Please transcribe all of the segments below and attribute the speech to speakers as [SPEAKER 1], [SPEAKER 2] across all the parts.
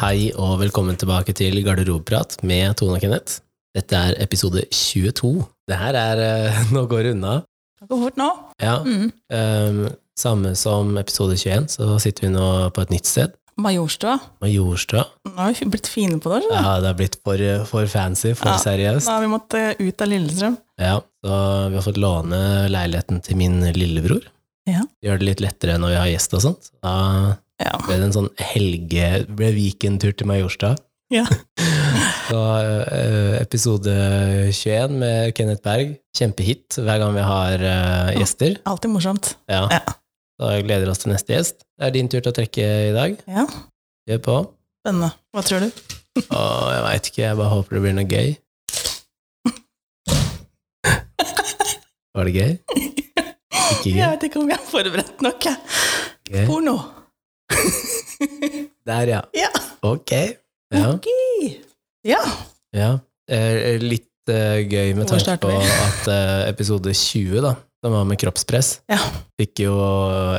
[SPEAKER 1] Hei og velkommen tilbake til Garderobeprat med Tone og Kenneth. Dette er episode 22. Det her er eh, Nå går det unna.
[SPEAKER 2] Det går fort nå.
[SPEAKER 1] Ja,
[SPEAKER 2] Mm.
[SPEAKER 1] ehm, samme som episode 21, så sitter vi nå på et nytt sted.
[SPEAKER 2] Majorstua.
[SPEAKER 1] Majorstua.
[SPEAKER 2] Nå har vi blitt fine på det. skjønner du.
[SPEAKER 1] Ja, det har blitt for, eh, for fancy, for
[SPEAKER 2] Ja.
[SPEAKER 1] seriøst.
[SPEAKER 2] Da har vi måttet eh, ut av Lillestrøm.
[SPEAKER 1] Ja, så vi har fått låne leiligheten til min lillebror.
[SPEAKER 2] Ja.
[SPEAKER 1] Gjør det litt lettere når vi har gjest og sånt. Da
[SPEAKER 2] Ja.
[SPEAKER 1] ble det en sånn helge, ble weekendtur til Majorstua.
[SPEAKER 2] Ja.
[SPEAKER 1] Så eh, episode 21 med Kenneth Berg, kjempehit hver gang vi har eh, gjester.
[SPEAKER 2] Alltid morsomt.
[SPEAKER 1] Ja.
[SPEAKER 2] Ja.
[SPEAKER 1] Så jeg gleder oss til neste gjest. Det er din tur til å trekke i dag.
[SPEAKER 2] Ja.
[SPEAKER 1] Gjør på.
[SPEAKER 2] Spennende. Hva tror du?
[SPEAKER 1] Og jeg veit ikke, jeg bare håper det blir noe gøy. Var det gøy? Ikke
[SPEAKER 2] Jeg
[SPEAKER 1] gøy?
[SPEAKER 2] vet ikke om jeg har forberedt nok. jeg.
[SPEAKER 1] gøy.
[SPEAKER 2] Porno.
[SPEAKER 1] Der, ja.
[SPEAKER 2] Ja.
[SPEAKER 1] Ok. Ja.
[SPEAKER 2] Ok. Ja.
[SPEAKER 1] ja. Eh, litt eh, gøy med
[SPEAKER 2] Hvor
[SPEAKER 1] tanke
[SPEAKER 2] starter
[SPEAKER 1] på
[SPEAKER 2] vi?
[SPEAKER 1] at eh, episode 20, da, som var med kroppspress,
[SPEAKER 2] Ja.
[SPEAKER 1] fikk jo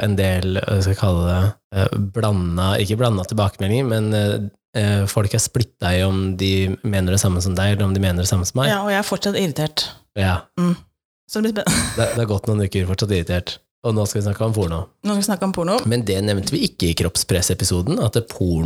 [SPEAKER 1] en del, eh, skal jeg kalle det, eh, blanda Ikke blanda tilbakemeldinger, men eh, eh, folk er splitta i om de mener det samme som deg, eller om de mener det samme som meg.
[SPEAKER 2] ja. Og jeg er fortsatt irritert. Mm.
[SPEAKER 1] Ja.
[SPEAKER 2] Så det blir spennende.
[SPEAKER 1] Det, det har gått noen uker, fortsatt irritert. Og nå skal vi snakke om porno.
[SPEAKER 2] Nå skal vi snakke om porno.
[SPEAKER 1] Men det nevnte vi ikke i kroppspressepisoden, at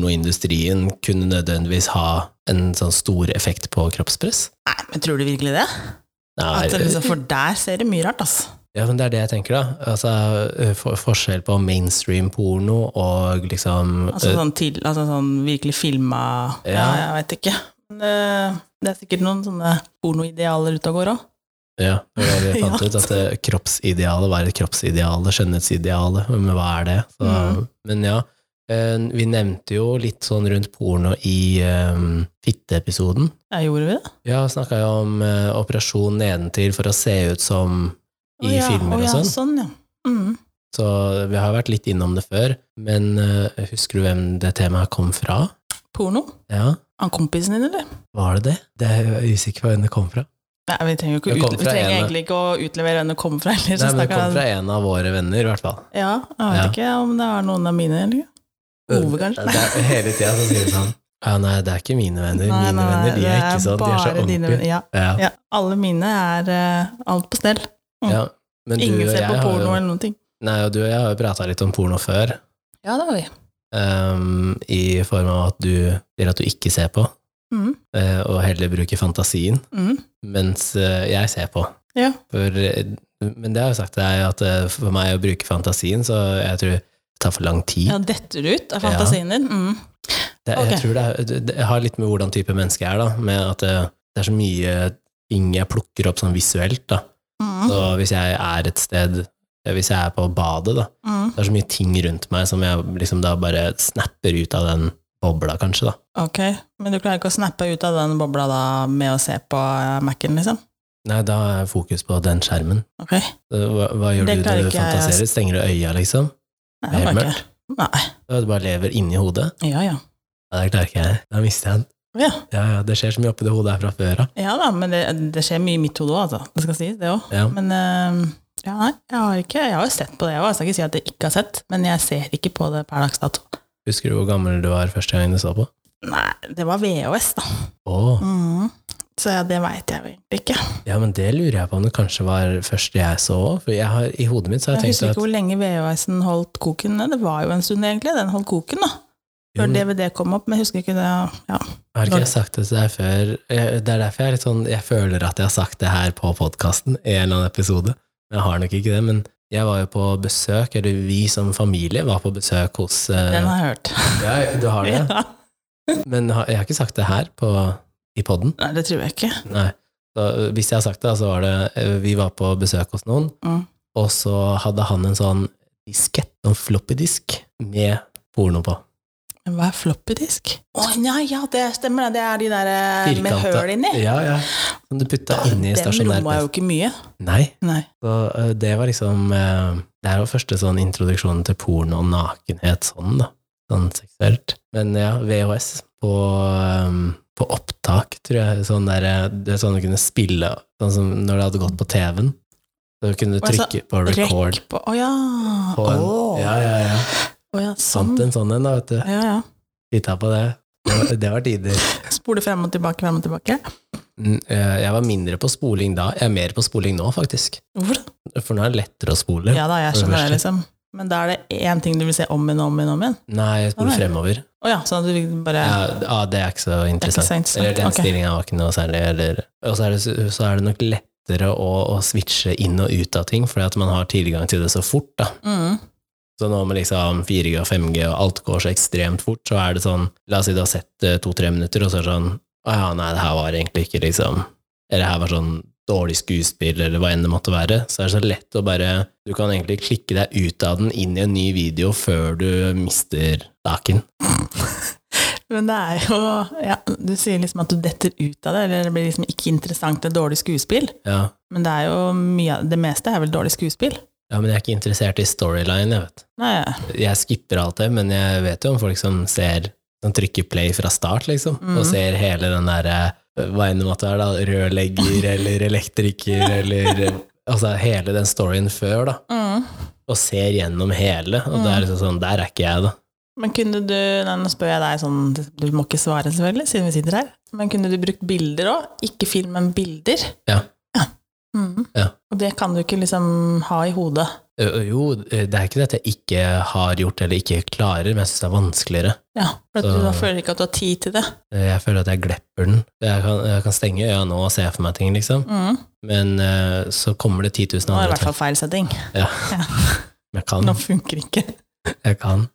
[SPEAKER 1] pornoindustrien kunne nødvendigvis ha en sånn stor effekt på kroppspress.
[SPEAKER 2] Nei, men tror du virkelig det?
[SPEAKER 1] Mm. Nei,
[SPEAKER 2] At, det liksom, for der ser det mye rart, altså.
[SPEAKER 1] ja, men det er det jeg tenker, da. Altså, eh, for, forskjell på mainstream porno og liksom
[SPEAKER 2] Altså
[SPEAKER 1] eh,
[SPEAKER 2] sånn, til, altså sånn virkelig filma
[SPEAKER 1] Ja.
[SPEAKER 2] ja. jeg veit ikke. Men eh, det er sikkert noen sånne pornoidealer ute og går òg.
[SPEAKER 1] Ja, det var det vi fant
[SPEAKER 2] Ja.
[SPEAKER 1] ut, at eh, kroppsidealet var et kroppsideale, skjønnhetsideale, men hva er det? Så,
[SPEAKER 2] Mhm.
[SPEAKER 1] Men ja, eh, vi nevnte jo litt sånn rundt porno i eh, fitteepisoden.
[SPEAKER 2] Ja, gjorde vi det?
[SPEAKER 1] Ja, snakka jo om eh, operasjon nedentil for å se ut som i
[SPEAKER 2] Å ja,
[SPEAKER 1] filmer
[SPEAKER 2] å
[SPEAKER 1] og
[SPEAKER 2] ja,
[SPEAKER 1] sånn.
[SPEAKER 2] sånn ja. Mm.
[SPEAKER 1] Så vi har vært litt innom det før, men eh, husker du hvem det temaet kom fra?
[SPEAKER 2] Porno?
[SPEAKER 1] Ja,
[SPEAKER 2] Han kompisen din, eller?
[SPEAKER 1] var det det? Det er jeg usikker på hvem det kom fra.
[SPEAKER 2] Nei, vi trenger, jo ikke
[SPEAKER 1] Det kom
[SPEAKER 2] utle- vi
[SPEAKER 1] fra
[SPEAKER 2] trenger
[SPEAKER 1] en-
[SPEAKER 2] egentlig ikke å utlevere hvem det kommer fra. Eller,
[SPEAKER 1] Nei, men
[SPEAKER 2] så
[SPEAKER 1] det
[SPEAKER 2] snakker
[SPEAKER 1] kom
[SPEAKER 2] han-
[SPEAKER 1] fra en av våre venner, i hvert fall.
[SPEAKER 2] Ja, jeg vet
[SPEAKER 1] Ja.
[SPEAKER 2] ikke om det er noen av mine. Eller? Ove, kanskje?
[SPEAKER 1] Det er, hele tida så sier vi sånn Ja, nei, det er ikke mine venner. mine venner, de
[SPEAKER 2] det
[SPEAKER 1] er ikke sånn. De er så
[SPEAKER 2] bare dine
[SPEAKER 1] ordentlige.
[SPEAKER 2] venner. Ja,
[SPEAKER 1] Ja.
[SPEAKER 2] ja, alle mine er eh, alt på stell. Mm.
[SPEAKER 1] Ja. Men du og,
[SPEAKER 2] Ingen
[SPEAKER 1] jeg
[SPEAKER 2] ser på
[SPEAKER 1] har
[SPEAKER 2] porno
[SPEAKER 1] jo,
[SPEAKER 2] eller noen ting.
[SPEAKER 1] nei, og du og jeg har jo prata litt om porno før,
[SPEAKER 2] Ja, det har vi.
[SPEAKER 1] ehm, i form av at du sier at du ikke ser på,
[SPEAKER 2] Mm,
[SPEAKER 1] eh, og heller bruker fantasien.
[SPEAKER 2] mm.
[SPEAKER 1] mens eh, jeg ser på.
[SPEAKER 2] Ja.
[SPEAKER 1] For, eh, men det har jeg sagt til deg, at eh, for meg å bruke fantasien, så jeg tror det tar for lang tid.
[SPEAKER 2] ja detter du ut av fantasien din? Mm.
[SPEAKER 1] det,
[SPEAKER 2] ok.
[SPEAKER 1] jeg tror det, er- det har litt med hvordan type menneske jeg er, da, med at eh, det er så mye ting jeg plukker opp sånn visuelt. Da.
[SPEAKER 2] Mm.
[SPEAKER 1] Så hvis jeg er et sted, eh, hvis jeg er på badet, da,
[SPEAKER 2] Mm.
[SPEAKER 1] det er så mye ting rundt meg som jeg liksom da bare snapper ut av den bobla, kanskje. da.
[SPEAKER 2] Ok, men du klarer ikke å snappe ut av den bobla da med å se på eh, Mac-en, liksom?
[SPEAKER 1] Nei, da er jeg fokus på den skjermen.
[SPEAKER 2] Ok,
[SPEAKER 1] Så Hva, hva gjør
[SPEAKER 2] Det
[SPEAKER 1] du når
[SPEAKER 2] klarer
[SPEAKER 1] du
[SPEAKER 2] ikke jeg, ass.
[SPEAKER 1] fantaserer? Stenger du øya, liksom?
[SPEAKER 2] Nei,
[SPEAKER 1] Det er
[SPEAKER 2] det
[SPEAKER 1] helt
[SPEAKER 2] var ikke. Nei,
[SPEAKER 1] Ja, Du bare lever inni hodet?
[SPEAKER 2] ja ja.
[SPEAKER 1] Ja, det klarer ikke jeg. Da mister jeg den.
[SPEAKER 2] Ja,
[SPEAKER 1] Ja, ja, det skjer så mye oppi det hodet her fra før av.
[SPEAKER 2] ja da, men det, det skjer mye i mitt hode òg, altså. Det skal sies, det òg.
[SPEAKER 1] Ja.
[SPEAKER 2] Men eh, ja, nei, jeg har ikke Jeg har jo sett på det, jeg òg. Jeg skal ikke si at jeg ikke har sett, men jeg ser ikke på det per dags dato.
[SPEAKER 1] Husker du hvor gammel du var første gang du så på?
[SPEAKER 2] Nei, det var VHS, da.
[SPEAKER 1] Å,
[SPEAKER 2] Mhm. Så ja, det veit jeg jo egentlig ikke.
[SPEAKER 1] ja, men det lurer jeg på om det kanskje var første jeg så òg. For jeg har, i hodet mitt så har
[SPEAKER 2] Jeg
[SPEAKER 1] jeg
[SPEAKER 2] husker
[SPEAKER 1] tenkt
[SPEAKER 2] ikke
[SPEAKER 1] at
[SPEAKER 2] hvor lenge VHS-en holdt koken. Det var jo en stund, egentlig. Den holdt koken, da.
[SPEAKER 1] Jo,
[SPEAKER 2] Før
[SPEAKER 1] men
[SPEAKER 2] DVD kom opp, men jeg husker ikke det. Ja.
[SPEAKER 1] Har ikke jeg sagt det til deg før? Eh, Det er derfor jeg er litt sånn Jeg føler at jeg har sagt det her på podkasten i en eller annen episode. Men jeg har nok ikke det. Men jeg var jo på besøk, eller vi som familie var på besøk hos eh,
[SPEAKER 2] Den har jeg hørt.
[SPEAKER 1] Ja, du har det?
[SPEAKER 2] Ja.
[SPEAKER 1] Men har- jeg har ikke sagt det her på, i podden.
[SPEAKER 2] Nei, det tror jeg ikke.
[SPEAKER 1] Nei. Så, ø, hvis jeg har sagt det, så var det ø, Vi var på besøk hos noen,
[SPEAKER 2] Mm.
[SPEAKER 1] og så hadde han en sånn diskett, en floppydisk, med porno på.
[SPEAKER 2] Men hva er floppy disk? Å nei, ja, det stemmer, det. Det er de der eh, med
[SPEAKER 1] Firkanta.
[SPEAKER 2] høl inni.
[SPEAKER 1] Ja, ja. Som du putta inni
[SPEAKER 2] Den
[SPEAKER 1] stasjonær
[SPEAKER 2] romma jo
[SPEAKER 1] PC.
[SPEAKER 2] ikke mye.
[SPEAKER 1] Nei.
[SPEAKER 2] Nei.
[SPEAKER 1] Så ø, det var liksom ø, Det her var første sånn introduksjonen til porno og nakenhet sånn, da. Sånn seksuelt. Men ja, VHS på ø, på opptak, tror jeg. Sånn der, ø, det er sånn du kunne spille Sånn som når det hadde gått på TV-en. Så kunne du
[SPEAKER 2] Altså,
[SPEAKER 1] trykke på record.
[SPEAKER 2] Rekk på Å ja.
[SPEAKER 1] på en,
[SPEAKER 2] Å.
[SPEAKER 1] ja, ja, ja.
[SPEAKER 2] Å ja, sånn.
[SPEAKER 1] Fant en sånn en, da, vet du.
[SPEAKER 2] Ja, ja.
[SPEAKER 1] Titta på det. Det var- Det var tider.
[SPEAKER 2] Spole frem og tilbake, frem og tilbake.
[SPEAKER 1] Mm, eh, Jeg var mindre på spoling da. Jeg er mer på spoling nå, faktisk.
[SPEAKER 2] Hvorfor det?
[SPEAKER 1] For nå er det lettere å spole.
[SPEAKER 2] Ja da, jeg
[SPEAKER 1] For det
[SPEAKER 2] skjønner det,
[SPEAKER 1] første.
[SPEAKER 2] liksom. Men da er det én ting du vil se om igjen og om igjen. og om igjen.
[SPEAKER 1] Nei, jeg spoler
[SPEAKER 2] Å, nei.
[SPEAKER 1] fremover.
[SPEAKER 2] Å ja, sånn at du vil bare
[SPEAKER 1] Ja, ja, det er ikke så
[SPEAKER 2] Det er ikke
[SPEAKER 1] interessant.
[SPEAKER 2] så interessant.
[SPEAKER 1] Eller den
[SPEAKER 2] Ok.
[SPEAKER 1] stillingen var ikke noe særlig. Eller, og så er, det, så er det nok lettere å, å switche inn og ut av ting, fordi at man har tilgang til det så fort. da.
[SPEAKER 2] Mm.
[SPEAKER 1] Så nå med liksom 4G og 5G og alt går så ekstremt fort, så er det sånn La oss si du har sett eh, to-tre minutter, og så er det sånn Å ja, nei, det her var egentlig ikke liksom Eller det her var sånn dårlig skuespill, eller hva enn det måtte være. Så er det så lett å bare Du kan egentlig klikke deg ut av den inn i en ny video før du mister saken.
[SPEAKER 2] Men det er jo ja, Du sier liksom at du detter ut av det, eller det blir liksom ikke interessant eller dårlig skuespill.
[SPEAKER 1] Ja.
[SPEAKER 2] Men det er jo mye av det meste er vel dårlig skuespill?
[SPEAKER 1] ja, men jeg er ikke interessert i storyline, jeg vet.
[SPEAKER 2] Nei,
[SPEAKER 1] jeg skipper alt det, men jeg vet jo om folk som ser som trykker play fra start, liksom, og
[SPEAKER 2] Mhm.
[SPEAKER 1] ser hele den derre hva enn det måtte være, da, rørlegger eller elektriker eller Altså hele den storyen før, da,
[SPEAKER 2] Mm.
[SPEAKER 1] og ser gjennom hele, og
[SPEAKER 2] Mhm.
[SPEAKER 1] det er liksom sånn Der er ikke jeg, da.
[SPEAKER 2] Men kunne du Nei, nå spør jeg deg sånn Du må ikke svare, selvfølgelig, siden vi sitter her. Men kunne du brukt bilder òg? Ikke film, men bilder?
[SPEAKER 1] Ja.
[SPEAKER 2] Mhm.
[SPEAKER 1] Ja.
[SPEAKER 2] Og det kan du ikke liksom ha i hodet.
[SPEAKER 1] Ø, ø, Eh, Jo, det er ikke det at jeg ikke har gjort eller ikke klarer, men jeg syns det er vanskeligere.
[SPEAKER 2] Ja, For at du
[SPEAKER 1] Så-
[SPEAKER 2] da føler ikke at du har tid til det.
[SPEAKER 1] Jeg føler at jeg glepper den. Jeg kan, jeg kan stenge øya nå og se for meg ting, liksom,
[SPEAKER 2] Mm.
[SPEAKER 1] men ø, så kommer det 10 000
[SPEAKER 2] Nå er det i
[SPEAKER 1] andre
[SPEAKER 2] hvert
[SPEAKER 1] ting.
[SPEAKER 2] fall feil setting.
[SPEAKER 1] Ja.
[SPEAKER 2] Ja.
[SPEAKER 1] Men Jeg kan
[SPEAKER 2] Nå funker ikke.
[SPEAKER 1] Jeg kan.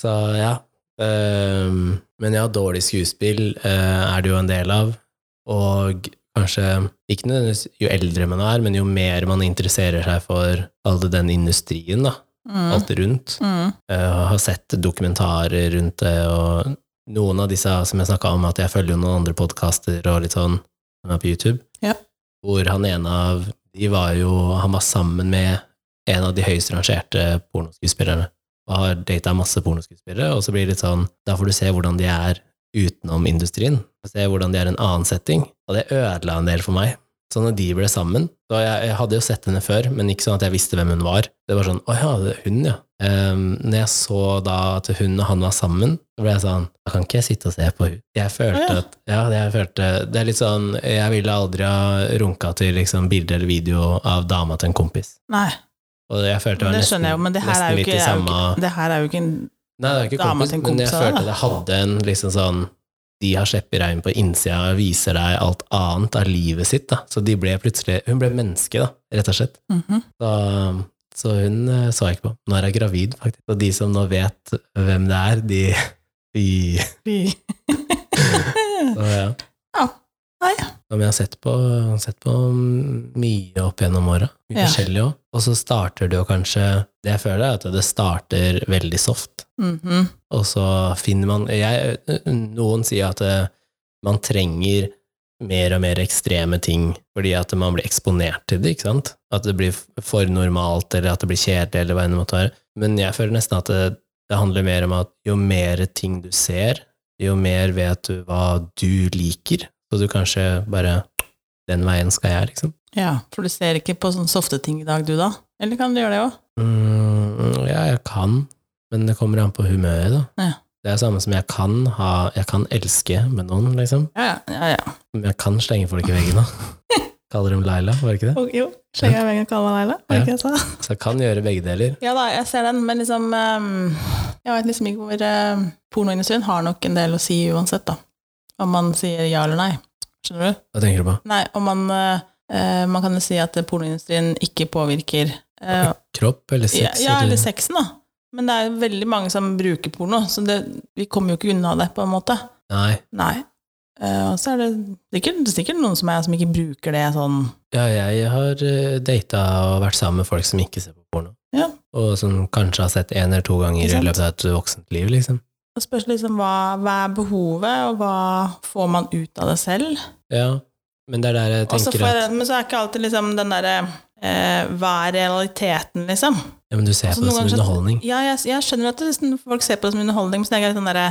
[SPEAKER 1] Så ja. Ehm, men ja, dårlig skuespill eh, er det jo en del av. Og kanskje ikke nødvendigvis jo eldre man er, men jo mer man interesserer seg for all den industrien, da,
[SPEAKER 2] Mm.
[SPEAKER 1] alt rundt.
[SPEAKER 2] Mm.
[SPEAKER 1] Eh, har sett dokumentarer rundt det, og noen av disse som jeg snakka om, at jeg følger jo noen andre podkaster og litt sånn som er på YouTube,
[SPEAKER 2] Ja.
[SPEAKER 1] hvor han ene av de var jo Han var sammen med en av de høyest rangerte pornoskuespillerne, og har data masse pornoskuespillere, og så blir det litt sånn Da får du se hvordan de er utenom industrien, og se hvordan de er i en annen setting, og det ødela en del for meg. Så når de ble sammen så jeg, jeg hadde jo sett henne før, men ikke sånn at jeg visste hvem hun var. Det var sånn 'Å ja, det er hun, ja'. Ehm, når jeg så da at hun og han var sammen, så ble jeg sånn Da kan ikke jeg sitte og se på hun. Jeg følte
[SPEAKER 2] Å, ja.
[SPEAKER 1] at Ja, det jeg følte Det er litt sånn Jeg ville aldri ha runka til liksom bilde eller video av dama til en kompis.
[SPEAKER 2] Nei,
[SPEAKER 1] Og jeg følte det var
[SPEAKER 2] det
[SPEAKER 1] nesten,
[SPEAKER 2] skjønner jeg jo, men det her
[SPEAKER 1] nesten
[SPEAKER 2] er jo
[SPEAKER 1] litt
[SPEAKER 2] ikke,
[SPEAKER 1] i
[SPEAKER 2] er jo
[SPEAKER 1] samme
[SPEAKER 2] ikke, det her er jo ikke en
[SPEAKER 1] Nei, det er ikke
[SPEAKER 2] dama
[SPEAKER 1] kompis,
[SPEAKER 2] til en
[SPEAKER 1] men jeg
[SPEAKER 2] kompis av deg,
[SPEAKER 1] følte at jeg hadde en liksom sånn De har skjeppereim på innsida og viser deg alt annet av livet sitt, da. Så de ble plutselig Hun ble menneske, da, rett og slett.
[SPEAKER 2] Mhm.
[SPEAKER 1] Så, så hun eh, så jeg ikke på. Nå er jeg gravid, faktisk. Og de som nå vet hvem det er, de, de
[SPEAKER 2] Vi-
[SPEAKER 1] så, ja.
[SPEAKER 2] Ja. Nei.
[SPEAKER 1] Ja, Men jeg har sett på, sett på mye opp gjennom åra. Mye
[SPEAKER 2] Ja.
[SPEAKER 1] forskjellig òg. Og så starter det jo kanskje Det jeg føler, er at det starter veldig soft.
[SPEAKER 2] Mhm.
[SPEAKER 1] Og så finner man jeg, Noen sier at eh, man trenger mer og mer ekstreme ting fordi at man blir eksponert til det, ikke sant? At det blir for normalt, eller at det blir kjedelig, eller hva enn det måtte være. Men jeg føler nesten at det, det handler mer om at jo mer ting du ser, jo mer vet du hva du liker, så du kanskje bare Den veien skal jeg, liksom.
[SPEAKER 2] Ja, for du ser ikke på sånne softe ting i dag, du da? Eller kan du gjøre det òg?
[SPEAKER 1] Mm, ja, jeg kan, men det kommer an på humøret, da.
[SPEAKER 2] Ja.
[SPEAKER 1] Det er samme som jeg kan ha Jeg kan elske med noen, liksom.
[SPEAKER 2] Ja, ja, ja, ja.
[SPEAKER 1] Men jeg kan slenge folk i veggen, da. Kaller dem Laila, var det ikke det?
[SPEAKER 2] Og, jo, slenger jeg veggen kaller Leila? Var det ikke det jeg sa?
[SPEAKER 1] Så jeg kan gjøre begge deler.
[SPEAKER 2] Ja da, jeg ser den, men liksom ehm, Jeg vet liksom ikke hvor ehm, Pornoindustrien har nok en del å si uansett, da. Om man sier ja eller nei. Skjønner du?
[SPEAKER 1] Hva tenker du på?
[SPEAKER 2] Nei, om man eh, eh, Man kan jo si at pornoindustrien ikke påvirker eh,
[SPEAKER 1] Kropp eller
[SPEAKER 2] ja,
[SPEAKER 1] sex?
[SPEAKER 2] ja, eller sexen, da. Men det er jo veldig mange som bruker porno, så det, vi kommer jo ikke unna det, på en måte.
[SPEAKER 1] Nei.
[SPEAKER 2] Nei. Eh, og så er det sikkert, det er sikkert noen som er som ikke bruker det sånn
[SPEAKER 1] Ja, jeg har eh, data og vært sammen med folk som ikke ser på porno.
[SPEAKER 2] Ja.
[SPEAKER 1] Og som kanskje har sett én eller to ganger
[SPEAKER 2] Ikke
[SPEAKER 1] i
[SPEAKER 2] sant?
[SPEAKER 1] løpet av et voksent liv, liksom.
[SPEAKER 2] Det spørs liksom hva, hva er behovet, og hva får man ut av det selv.
[SPEAKER 1] Ja. Men det er der jeg
[SPEAKER 2] Og så
[SPEAKER 1] tenker
[SPEAKER 2] får-
[SPEAKER 1] at
[SPEAKER 2] men så er ikke alltid liksom den derre eh, Hva er realiteten, liksom?
[SPEAKER 1] ja, men du ser
[SPEAKER 2] Altså,
[SPEAKER 1] på det
[SPEAKER 2] noen
[SPEAKER 1] som
[SPEAKER 2] ganger så-
[SPEAKER 1] underholdning.
[SPEAKER 2] Ja, jeg, jeg skjønner at det, liksom, folk ser på det som underholdning, men så tenker jeg litt den derre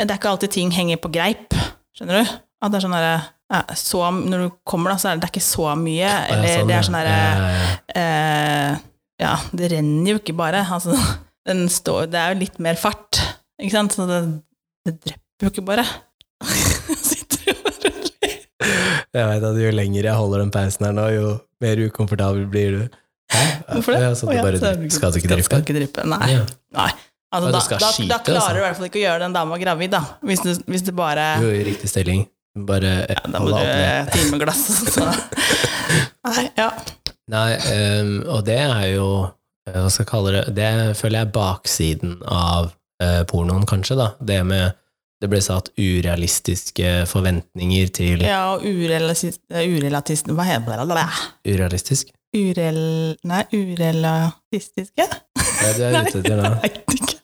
[SPEAKER 2] eh, Det er ikke alltid ting henger på greip. Skjønner du? At det er sånn derre eh, så, Når du kommer, da, så er det, det er ikke så mye.
[SPEAKER 1] Å, ja,
[SPEAKER 2] Eller det er sånn
[SPEAKER 1] ja.
[SPEAKER 2] derre
[SPEAKER 1] Ja, ja, ja.
[SPEAKER 2] eh, Ja, det renner jo ikke bare. Altså, den står, det er jo litt mer fart, ikke sant? Så det, det bruker bare Sitter og ruller.
[SPEAKER 1] Jeg vet at jo lenger jeg holder den pausen her nå, jo mer ukomfortabel blir du.
[SPEAKER 2] Hvorfor det?
[SPEAKER 1] Ja, sånn at
[SPEAKER 2] Å, ja,
[SPEAKER 1] du
[SPEAKER 2] så
[SPEAKER 1] bare,
[SPEAKER 2] jeg bruker-
[SPEAKER 1] skal du ikke drive
[SPEAKER 2] Skal ikke dryppe. Nei.
[SPEAKER 1] Ja.
[SPEAKER 2] Altså,
[SPEAKER 1] Ja, du
[SPEAKER 2] da,
[SPEAKER 1] skal
[SPEAKER 2] da,
[SPEAKER 1] skyte,
[SPEAKER 2] da klarer
[SPEAKER 1] altså.
[SPEAKER 2] du i hvert fall ikke å gjøre den dama gravid, da. Hvis du, hvis du bare
[SPEAKER 1] Jo, i riktig stilling. Bare ja,
[SPEAKER 2] Da må
[SPEAKER 1] holde opp
[SPEAKER 2] du
[SPEAKER 1] ned.
[SPEAKER 2] eh, time glass. Så. Nei, ja.
[SPEAKER 1] Nei, ehm, og det er jo eh, Hva skal jeg kalle det? Det føler jeg er baksiden av eh, pornoen, kanskje, da. Det med Det ble satt urealistiske forventninger til
[SPEAKER 2] ja, og urelatist... urelatist hva heter det?
[SPEAKER 1] Urealistisk?
[SPEAKER 2] Urel... Nei, urelatistiske?
[SPEAKER 1] Ja, du er ute etter nå.
[SPEAKER 2] Nei, jeg vet ikke.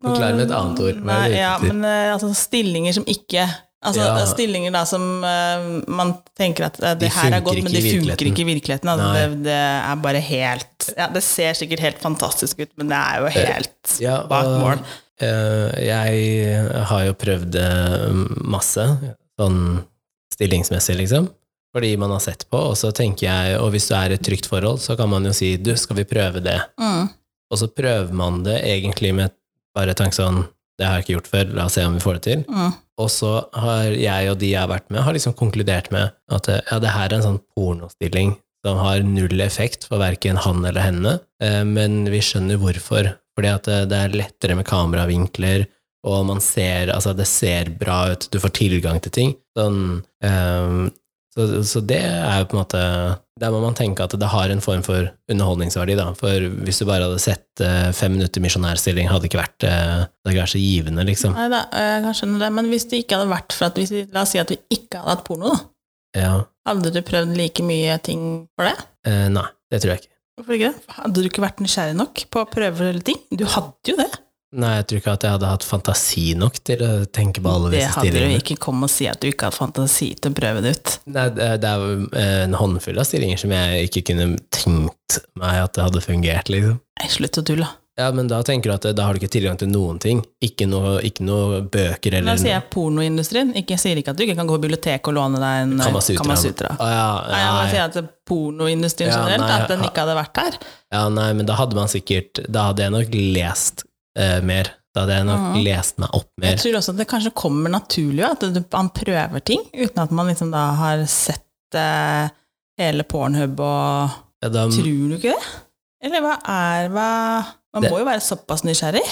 [SPEAKER 1] Forklar med et annet ord. Hva er det du er ute
[SPEAKER 2] Nei, ja,
[SPEAKER 1] etter?
[SPEAKER 2] men eh, altså stillinger som ikke Altså
[SPEAKER 1] Ja.
[SPEAKER 2] stillinger da som eh, man tenker at eh, det
[SPEAKER 1] De
[SPEAKER 2] her er
[SPEAKER 1] funker
[SPEAKER 2] godt,
[SPEAKER 1] ikke
[SPEAKER 2] men de
[SPEAKER 1] i
[SPEAKER 2] funker
[SPEAKER 1] virkeligheten.
[SPEAKER 2] ikke i virkeligheten. Altså,
[SPEAKER 1] Nei.
[SPEAKER 2] det, det er bare helt ja, Det ser sikkert helt fantastisk ut, men det er jo
[SPEAKER 1] Eh,
[SPEAKER 2] helt
[SPEAKER 1] Ja,
[SPEAKER 2] bak
[SPEAKER 1] og-
[SPEAKER 2] mål.
[SPEAKER 1] Eh, jeg har jo prøvd eh, masse, sånn stillingsmessig, liksom. Fordi man har sett på, og så tenker jeg Og hvis du er i et trygt forhold, så kan man jo si 'du, skal vi prøve det'?
[SPEAKER 2] Mm.
[SPEAKER 1] Og så prøver man det egentlig med bare tanke sånn 'det har jeg ikke gjort før, la oss se om vi får det til'.
[SPEAKER 2] Mm.
[SPEAKER 1] Og så har jeg og de jeg har vært med, har liksom konkludert med at eh, ja, det her er en sånn pornostilling som har null effekt for verken han eller henne, eh, men vi skjønner hvorfor. Fordi at eh, det er lettere med kameravinkler, og man ser, altså det ser bra ut, du får tilgang til ting. Sånn, eh, så, så det er jo på en måte Der må man tenke at det har en form for underholdningsverdi, da. For hvis du bare hadde sett eh, fem minutter misjonærstilling, hadde det ikke vært, eh, det hadde ikke vært så givende, liksom.
[SPEAKER 2] Nei da, eh, jeg kan skjønne det, men hvis det ikke hadde vært for at hvis vi, La oss si at vi ikke hadde hatt porno, da.
[SPEAKER 1] Ja.
[SPEAKER 2] Hadde du prøvd like mye ting for det?
[SPEAKER 1] Eh, nei, det tror jeg ikke.
[SPEAKER 2] Hvorfor ikke det? Hadde du ikke vært nysgjerrig nok på å prøve ting? Du hadde jo det.
[SPEAKER 1] Nei, jeg tror ikke at jeg hadde hatt fantasi nok til å tenke på alle
[SPEAKER 2] det
[SPEAKER 1] disse
[SPEAKER 2] hadde du
[SPEAKER 1] stillingene.
[SPEAKER 2] ikke kommet og si at du ikke hadde fantasi til å prøve det ut.
[SPEAKER 1] Nei, det det er jo eh, en håndfull av stillinger som jeg ikke kunne tenkt meg at det hadde fungert, liksom.
[SPEAKER 2] Nei, slutt å tulle.
[SPEAKER 1] Ja, men da tenker du at eh, da har du ikke tilgang til noen ting. Ikke noe, ikke noe bøker
[SPEAKER 2] Da
[SPEAKER 1] eller
[SPEAKER 2] sier jeg pornoindustrien. Ikke, jeg sier ikke at du ikke kan gå i biblioteket og låne deg en eh,
[SPEAKER 1] Kamasutra.
[SPEAKER 2] Kamasutra.
[SPEAKER 1] Å, ja,
[SPEAKER 2] Nei, jeg bare
[SPEAKER 1] nei.
[SPEAKER 2] sier at pornoindustrien
[SPEAKER 1] Ja,
[SPEAKER 2] generelt,
[SPEAKER 1] nei,
[SPEAKER 2] at den ikke hadde vært her.
[SPEAKER 1] ja, nei, men da hadde man sikkert Da hadde jeg nok lest eh, mer. Da hadde jeg nok
[SPEAKER 2] Mhm.
[SPEAKER 1] lest meg opp
[SPEAKER 2] Jeg
[SPEAKER 1] mer.
[SPEAKER 2] tror også at det kanskje kommer naturlig at du, man prøver ting, uten at man liksom da har sett eh, hele Pornhub og
[SPEAKER 1] Ja, da,
[SPEAKER 2] Tror du ikke det? Eller hva er hva Man
[SPEAKER 1] Det-
[SPEAKER 2] må jo være såpass nysgjerrig.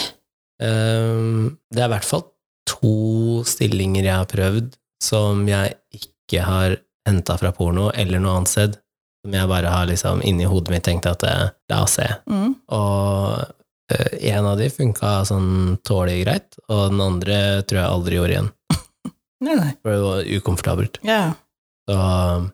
[SPEAKER 1] Ehm, Det er i hvert fall to stillinger jeg har prøvd som jeg ikke har henta fra porno eller noe annet sted. Som jeg bare har liksom inni hodet mitt tenkt at eh, la oss se.
[SPEAKER 2] Mm.
[SPEAKER 1] Og eh, en av de funka sånn tålelig greit, og den andre tror jeg aldri gjorde igjen.
[SPEAKER 2] Nei, nei.
[SPEAKER 1] For det var ukomfortabelt.
[SPEAKER 2] Ja.
[SPEAKER 1] Så,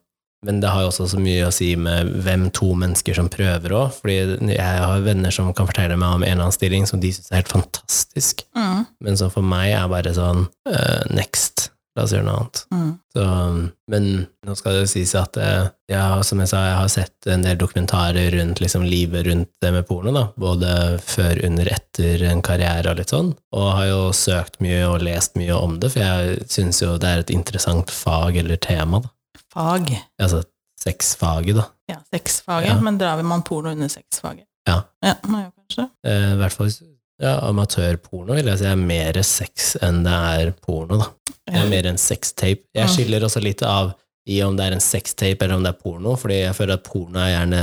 [SPEAKER 1] men det har jo også så mye å si med hvem to mennesker som prøver òg. Fordi jeg har venner som kan fortelle meg om en eller annen stilling som de syns er helt fantastisk.
[SPEAKER 2] Mm.
[SPEAKER 1] Men som for meg er bare sånn eh, Next. La oss gjøre noe annet.
[SPEAKER 2] Mm.
[SPEAKER 1] Så, men nå skal det jo sies at eh, jeg, har- som jeg sa, jeg har sett en del dokumentarer rundt liksom, livet rundt det med porno. Da. Både før, under, etter en karriere og litt sånn. Og har jo søkt mye og lest mye om det, for jeg syns jo det er et interessant fag eller tema. Da.
[SPEAKER 2] Fag.
[SPEAKER 1] Altså sexfaget, da.
[SPEAKER 2] Ja, sexfaget.
[SPEAKER 1] Ja.
[SPEAKER 2] Men drar vi man porno under sexfaget?
[SPEAKER 1] Ja.
[SPEAKER 2] ja må jeg kanskje.
[SPEAKER 1] Eh, I hvert fall ja, amatørporno vil jeg si er mer sex enn det er porno, da. Det er mer en sextape. Jeg
[SPEAKER 2] Mm.
[SPEAKER 1] skiller også litt av i om det er en sextape eller om det er porno, fordi jeg føler at porno er gjerne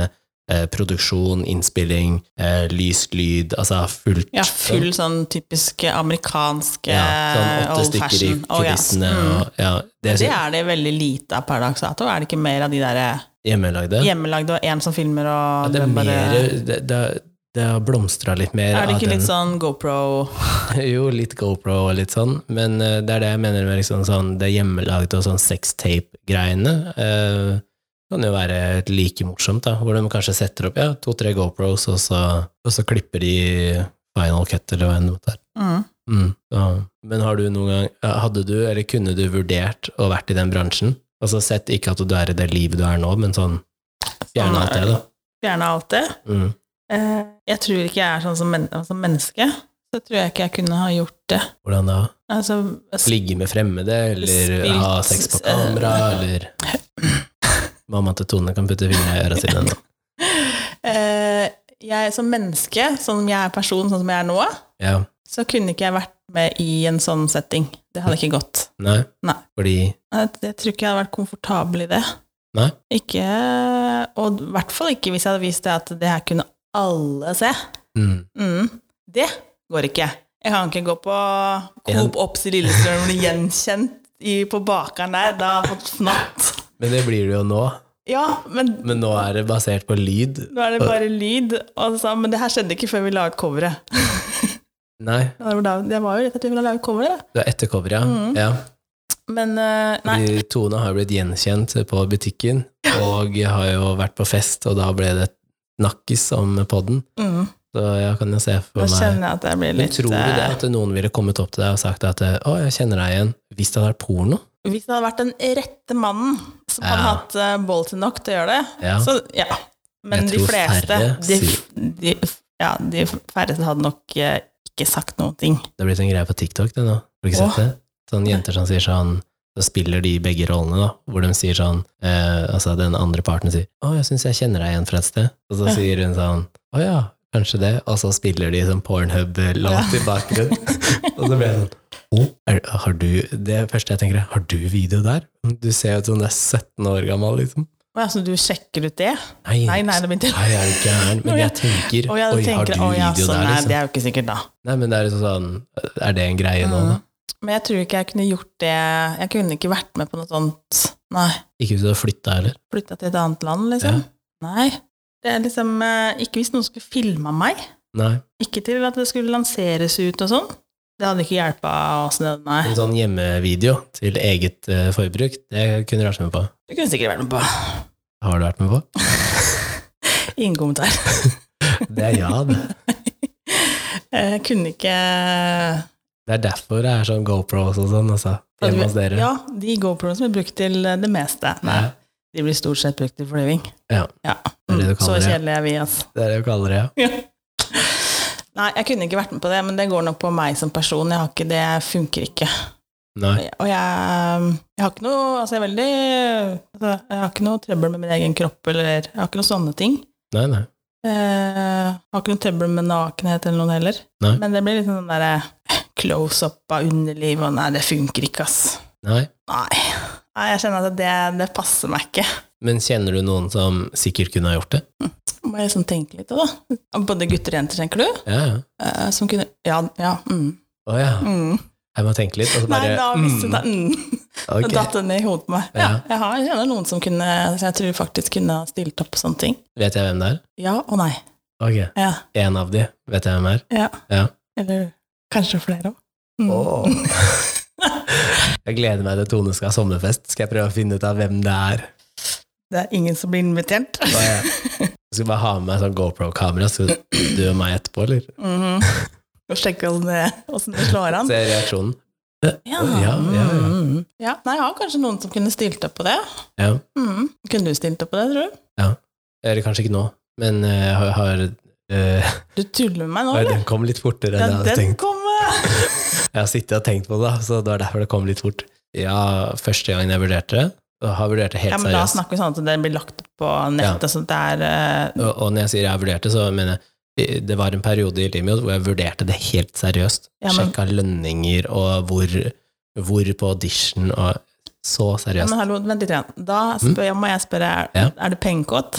[SPEAKER 1] eh, produksjon, innspilling, eh, lyst lyd, altså fullt
[SPEAKER 2] Ja, full sånn typisk amerikansk
[SPEAKER 1] ja, sånn
[SPEAKER 2] eh,
[SPEAKER 1] åtte
[SPEAKER 2] old
[SPEAKER 1] stykker i
[SPEAKER 2] fashion. Å, ja.
[SPEAKER 1] kulissene.
[SPEAKER 2] Mm.
[SPEAKER 1] og, ja, det
[SPEAKER 2] Det
[SPEAKER 1] er
[SPEAKER 2] er det veldig lite av per dags dato. Er det ikke mer av de der eh,
[SPEAKER 1] hjemmelagde.
[SPEAKER 2] hjemmelagde og én som filmer
[SPEAKER 1] Ja,
[SPEAKER 2] og
[SPEAKER 1] det er
[SPEAKER 2] den
[SPEAKER 1] mer
[SPEAKER 2] bare-
[SPEAKER 1] Det, det, det har blomstra litt mer
[SPEAKER 2] Er det
[SPEAKER 1] av
[SPEAKER 2] ikke litt
[SPEAKER 1] den.
[SPEAKER 2] sånn GoPro
[SPEAKER 1] Jo, litt GoPro og litt sånn, men eh, det er det jeg mener med liksom sånn det hjemmelagde og sånn sextape-greiene. eh, kan jo være like morsomt, da, hvor de kanskje setter opp ja, to-tre GoPros, og så, og så klipper de final cut eller hva enn det måtte være.
[SPEAKER 2] mm.
[SPEAKER 1] Mm, så. Men har du noen gang, ja, hadde du, eller kunne du vurdert å vært i den bransjen? Altså sett ikke at du er i det livet du er nå, men sånn
[SPEAKER 2] Sånn
[SPEAKER 1] fjerne alt det, da.
[SPEAKER 2] Fjerne alt det?
[SPEAKER 1] Mm.
[SPEAKER 2] Eh, jeg tror ikke jeg er sånn som, men som menneske. Så tror jeg ikke jeg kunne ha gjort det.
[SPEAKER 1] Hvordan da?
[SPEAKER 2] Altså,
[SPEAKER 1] Ligge med fremmede, eller
[SPEAKER 2] Spilt-
[SPEAKER 1] ha sex på kamera, eller Mamma til Tone kan putte fingeren i øra sine nå.
[SPEAKER 2] eh, jeg som menneske, sånn som jeg er person, sånn som jeg er nå,
[SPEAKER 1] Ja.
[SPEAKER 2] så kunne ikke jeg vært med i en sånn setting. Det hadde ikke gått.
[SPEAKER 1] Nei.
[SPEAKER 2] Nei.
[SPEAKER 1] Fordi
[SPEAKER 2] Jeg, jeg tror ikke jeg hadde vært komfortabel i det.
[SPEAKER 1] Nei.
[SPEAKER 2] Ikke, og i hvert fall ikke hvis jeg hadde vist det at det her kunne alle se.
[SPEAKER 1] mm,
[SPEAKER 2] Mm. Det går ikke. Jeg kan ikke gå på
[SPEAKER 1] En-
[SPEAKER 2] Coop Ops i Lillestrøm og bli gjenkjent i, på bakeren der. Da har jeg fått fnatt.
[SPEAKER 1] Men det blir det jo nå.
[SPEAKER 2] Ja, men
[SPEAKER 1] Men nå er det basert på lyd.
[SPEAKER 2] nå er det bare lyd. Og så, men det her skjedde ikke før vi la ut coveret.
[SPEAKER 1] Nei,
[SPEAKER 2] Det var da- det var jo rett etter vi la ut coveret, da.
[SPEAKER 1] du er etter cover, ja. ja.
[SPEAKER 2] Men eh, Mm. nei.
[SPEAKER 1] Fordi Tone har blitt gjenkjent på butikken, og har jo vært på fest, og da ble det snakkis om podden.
[SPEAKER 2] Mm.
[SPEAKER 1] Så jeg kan jo se
[SPEAKER 2] Da
[SPEAKER 1] for meg
[SPEAKER 2] kjenner jeg at jeg blir
[SPEAKER 1] Men
[SPEAKER 2] litt
[SPEAKER 1] tror du det
[SPEAKER 2] eh,
[SPEAKER 1] at noen ville kommet opp til deg og sagt at å, jeg kjenner deg igjen, hvis det hadde vært porno?
[SPEAKER 2] Hvis det hadde vært den rette mannen som hadde
[SPEAKER 1] Ja.
[SPEAKER 2] hatt eh, bolten nok til å gjøre det,
[SPEAKER 1] Ja.
[SPEAKER 2] så ja. Men
[SPEAKER 1] Jeg
[SPEAKER 2] de
[SPEAKER 1] tror
[SPEAKER 2] fleste
[SPEAKER 1] færre
[SPEAKER 2] de, de, ja, de færreste hadde nok eh, ikke sagt noen ting.
[SPEAKER 1] Det har blitt en greie på TikTok, det nå. Har du ikke
[SPEAKER 2] Åh.
[SPEAKER 1] sett det? Sånn jenter som sier sånn så spiller de begge rollene, da, hvor de sier sånn eh, Altså, den andre parten sier 'Å, jeg syns jeg kjenner deg igjen fra et sted', og så
[SPEAKER 2] Ja.
[SPEAKER 1] sier hun sånn 'Å ja, kanskje det', og så spiller de sånn pornhub-låt i bakgrunnen, og så blir jeg sånn «Å, er, har du, Det første jeg tenker, er 'Har du video der?' Du ser jo ut som du er 17 år gammel, liksom.
[SPEAKER 2] Å ja, så du sjekker ut det?
[SPEAKER 1] Nei,
[SPEAKER 2] Nei, nei, det begynte
[SPEAKER 1] Nei, jeg er du gæren? Men jeg tenker
[SPEAKER 2] Å ja, du
[SPEAKER 1] Oi, har
[SPEAKER 2] tenker
[SPEAKER 1] du
[SPEAKER 2] å ja,
[SPEAKER 1] video
[SPEAKER 2] sånn
[SPEAKER 1] der,
[SPEAKER 2] er
[SPEAKER 1] liksom?
[SPEAKER 2] det er jo ikke sikkert, da.
[SPEAKER 1] Nei, men det er liksom sånn Er det en greie nå, da?
[SPEAKER 2] Mm. Men jeg tror ikke jeg kunne gjort det Jeg kunne ikke vært med på noe sånt. Nei.
[SPEAKER 1] Ikke hvis du har flytta heller?
[SPEAKER 2] Flytta til et annet land, liksom. Nei. Det er liksom eh, Ikke hvis noen skulle filma meg.
[SPEAKER 1] Nei.
[SPEAKER 2] Ikke til at det skulle lanseres ut og sånn. Det hadde ikke hjelpa oss, det, nei.
[SPEAKER 1] En sånn hjemmevideo til eget eh, forbruk, det kunne du vært med på.
[SPEAKER 2] Det kunne sikkert vært noe på.
[SPEAKER 1] Har du vært med på?
[SPEAKER 2] Ingen kommentar.
[SPEAKER 1] Det er ja, det.
[SPEAKER 2] Jeg kunne ikke
[SPEAKER 1] Det er derfor det er sånn GoPros og sånn, altså. Hjemme hos dere.
[SPEAKER 2] Ja, de GoProene som er brukt til det meste. Nei.
[SPEAKER 1] Nei.
[SPEAKER 2] De blir stort sett brukt til flyving.
[SPEAKER 1] Ja.
[SPEAKER 2] ja.
[SPEAKER 1] Det er det du
[SPEAKER 2] Mm, Så
[SPEAKER 1] kaller det.
[SPEAKER 2] kjedelige er vi, altså.
[SPEAKER 1] Det er det vi kaller det, ja.
[SPEAKER 2] Ja. Nei, jeg kunne ikke vært med på det, men det går nok på meg som person. Jeg har ikke det, funker ikke.
[SPEAKER 1] Nei.
[SPEAKER 2] Og jeg, um, jeg har ikke noe Altså, jeg er veldig altså, Jeg har ikke noe trøbbel med min egen kropp, eller jeg har ikke noe sånne ting.
[SPEAKER 1] Nei, nei.
[SPEAKER 2] Eh, har ikke noe trøbbel med nakenhet eller noen heller.
[SPEAKER 1] Nei.
[SPEAKER 2] Men det blir litt sånn derre close up av underliv, og nei, det funker ikke, ass.
[SPEAKER 1] nei.
[SPEAKER 2] Nei. nei jeg kjenner at det, det passer meg ikke.
[SPEAKER 1] Men kjenner du noen som sikkert kunne ha gjort det?
[SPEAKER 2] Må jeg sånn tenke litt, da. Både gutter og jenter, tenker du?
[SPEAKER 1] Ja, ja.
[SPEAKER 2] Eh, som kunne Ja, ja, mm.
[SPEAKER 1] Å ja.
[SPEAKER 2] mm.
[SPEAKER 1] Jeg må tenke litt, og så
[SPEAKER 2] Nei,
[SPEAKER 1] bare
[SPEAKER 2] da visste
[SPEAKER 1] mm,
[SPEAKER 2] jeg mm. Da
[SPEAKER 1] ok.
[SPEAKER 2] datt den ned i hodet på meg. Ja,
[SPEAKER 1] Ja.
[SPEAKER 2] jeg har jeg kjenner noen som kunne som jeg tror faktisk kunne ha stilt opp på sånne ting.
[SPEAKER 1] Vet jeg hvem det er?
[SPEAKER 2] Ja og nei.
[SPEAKER 1] Ok.
[SPEAKER 2] Ja,
[SPEAKER 1] En av de. Vet jeg hvem er?
[SPEAKER 2] ja.
[SPEAKER 1] Ja.
[SPEAKER 2] Eller kanskje flere Mm. òg.
[SPEAKER 1] Åh. Jeg gleder meg til Tone skal ha sommerfest. Skal jeg prøve å finne ut av hvem det er?
[SPEAKER 2] Det er ingen som blir invitert.
[SPEAKER 1] Hva er jeg? Jeg skal bare ha med meg sånn GoPro-kamera, så du og meg etterpå, eller?
[SPEAKER 2] Mhm. Og sjekke åssen det, hvordan det slår an.
[SPEAKER 1] Se reaksjonen.
[SPEAKER 2] Ja.
[SPEAKER 1] ja, ja, ja.
[SPEAKER 2] mhm. ja. Nei, jeg har kanskje noen som kunne stilt opp på det.
[SPEAKER 1] Ja.
[SPEAKER 2] Mhm. Kunne du stilt opp på det, tror du?
[SPEAKER 1] Eller kanskje ikke nå, men eh, jeg har, har eh,
[SPEAKER 2] Du tuller med meg nå,
[SPEAKER 1] Oi,
[SPEAKER 2] eller?
[SPEAKER 1] Den kom litt fortere enn jeg
[SPEAKER 2] Ja,
[SPEAKER 1] hadde
[SPEAKER 2] den
[SPEAKER 1] tenkt.
[SPEAKER 2] kom eh,
[SPEAKER 1] Jeg har sittet og tenkt på det, da, så det var derfor det kom litt fort. Ja, første gangen jeg vurderte det, og har vurdert det
[SPEAKER 2] ja,
[SPEAKER 1] helt
[SPEAKER 2] men Da
[SPEAKER 1] seriøst.
[SPEAKER 2] snakker vi sånn at den blir lagt ut på nettet, så det er eh,
[SPEAKER 1] Og, og når jeg sier jeg vurderte, så mener jeg eh, det var en periode i livet mitt hvor jeg vurderte det helt seriøst.
[SPEAKER 2] Ja, men-
[SPEAKER 1] Sjekka lønninger og hvor, hvor på audition og Så seriøst.
[SPEAKER 2] Men hallo, vent litt igjen. Da spør, må jeg spørre, er,
[SPEAKER 1] Mm. Ja.
[SPEAKER 2] er du pengekåt?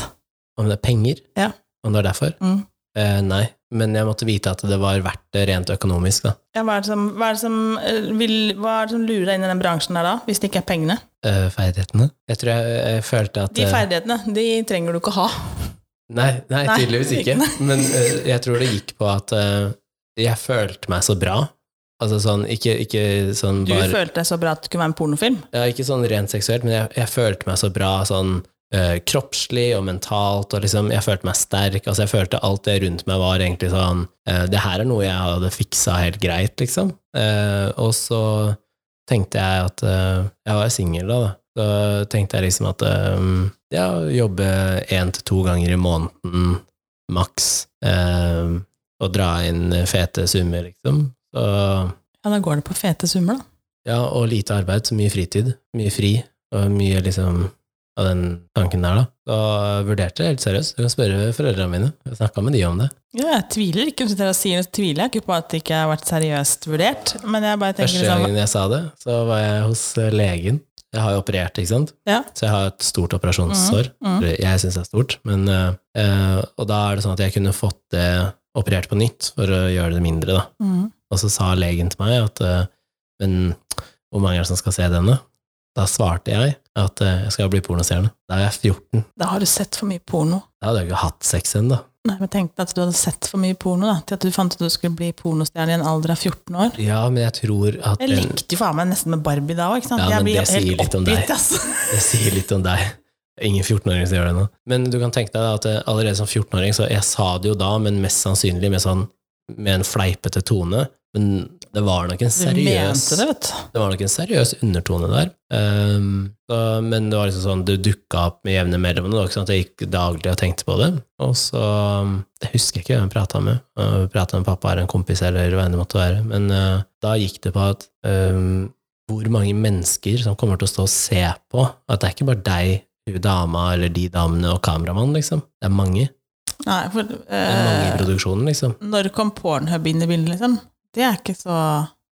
[SPEAKER 1] Om det er penger?
[SPEAKER 2] Ja.
[SPEAKER 1] Om det er derfor?
[SPEAKER 2] Mm.
[SPEAKER 1] Eh, nei. Men jeg måtte vite at det var verdt det rent økonomisk, da.
[SPEAKER 2] Ja, hva, er det som, hva, er det som, eh, vil, hva er det som lurer deg inn i den bransjen der da, hvis det ikke er pengene?
[SPEAKER 1] Eh, ferdighetene. Jeg tror jeg, jeg følte at
[SPEAKER 2] De
[SPEAKER 1] eh,
[SPEAKER 2] ferdighetene, de trenger du ikke ha.
[SPEAKER 1] Nei, nei,
[SPEAKER 2] Nei,
[SPEAKER 1] tydeligvis ikke. Men eh, jeg tror det gikk på at eh, jeg følte meg så bra. Altså sånn, ikke, ikke sånn
[SPEAKER 2] Du
[SPEAKER 1] bare
[SPEAKER 2] følte deg så bra at det kunne være en pornofilm.
[SPEAKER 1] Ja, ikke sånn rent seksuelt, men jeg, jeg følte meg så bra sånn eh, kroppslig og mentalt, og liksom, jeg følte meg sterk, altså jeg følte alt det rundt meg var egentlig sånn, eh, det her er noe jeg hadde fiksa helt greit, liksom. Eh, og så tenkte jeg at, eh, jeg var singel da, da, så tenkte jeg liksom at, eh, ja, jobbe en til to ganger i måneden, maks, eh, og dra inn fete summer, liksom. Så
[SPEAKER 2] Ja, da går det på fete summer da.
[SPEAKER 1] ja, og lite arbeid, så mye fritid. Mye fri, og mye liksom av den tanken der, da. Da vurderte jeg helt seriøst. Du kan spørre foreldrene mine. Jeg snakka med de om det.
[SPEAKER 2] Ja, jeg tviler ikke, hvis dere sier det, så tviler jeg ikke på at det ikke har vært seriøst vurdert. Men jeg bare tenker
[SPEAKER 1] Første
[SPEAKER 2] liksom,
[SPEAKER 1] gangen jeg sa det, så var jeg hos eh, legen. Jeg har jo operert, ikke sant?
[SPEAKER 2] Ja.
[SPEAKER 1] Så jeg har et stort operasjonssår.
[SPEAKER 2] Mhm, mhm.
[SPEAKER 1] Eller Jeg syns det er stort, men eh, eh, Og da er det sånn at jeg kunne fått det operert på nytt for å gjøre det mindre, da.
[SPEAKER 2] mm,
[SPEAKER 1] Og så sa legen til meg at eh, Men hvor mange er det som skal se denne? Da svarte jeg at eh, jeg skal bli pornostjerne. Da er jeg 14.
[SPEAKER 2] Da har du sett for mye porno.
[SPEAKER 1] Da hadde jeg ikke hatt sex ennå.
[SPEAKER 2] Nei, men jeg tenkte at du hadde sett for mye porno da, til at du fant ut at du skulle bli pornostjerne i en alder av 14 år.
[SPEAKER 1] Ja, men jeg tror at
[SPEAKER 2] Jeg
[SPEAKER 1] den-
[SPEAKER 2] likte jo faen meg nesten med Barbie da òg, ikke sant?
[SPEAKER 1] Ja,
[SPEAKER 2] jeg
[SPEAKER 1] men
[SPEAKER 2] blir
[SPEAKER 1] det sier litt om deg.
[SPEAKER 2] ass.
[SPEAKER 1] Det sier litt om deg. Det er Ingen 14-åring som gjør det nå. Men du kan tenke deg at eh, allerede som 14-åring, så jeg sa det jo da, men mest sannsynlig med, sånn, med en fleipete tone. Men det var nok en
[SPEAKER 2] Du
[SPEAKER 1] seriøs
[SPEAKER 2] mente det, vet du.
[SPEAKER 1] det var nok en seriøs undertone der. Ehm, så, men det var liksom sånn, det dukka opp med jevne mellom. Det var ikke sånn at jeg gikk daglig og tenkte på det. Og så um, Jeg husker ikke hvem jeg prata med. Uh, prata med pappa eller en kompis eller hva enn det måtte være. Men eh, da gikk det på at ehm, hvor mange mennesker som kommer til å stå og se på. At det er ikke bare deg, hun dama eller de damene og kameramannen, liksom. Det er mange.
[SPEAKER 2] Nei, for
[SPEAKER 1] Det er mange i
[SPEAKER 2] eh,
[SPEAKER 1] produksjonen, liksom.
[SPEAKER 2] når kom Pornhub inn i bildet, liksom? Det er ikke så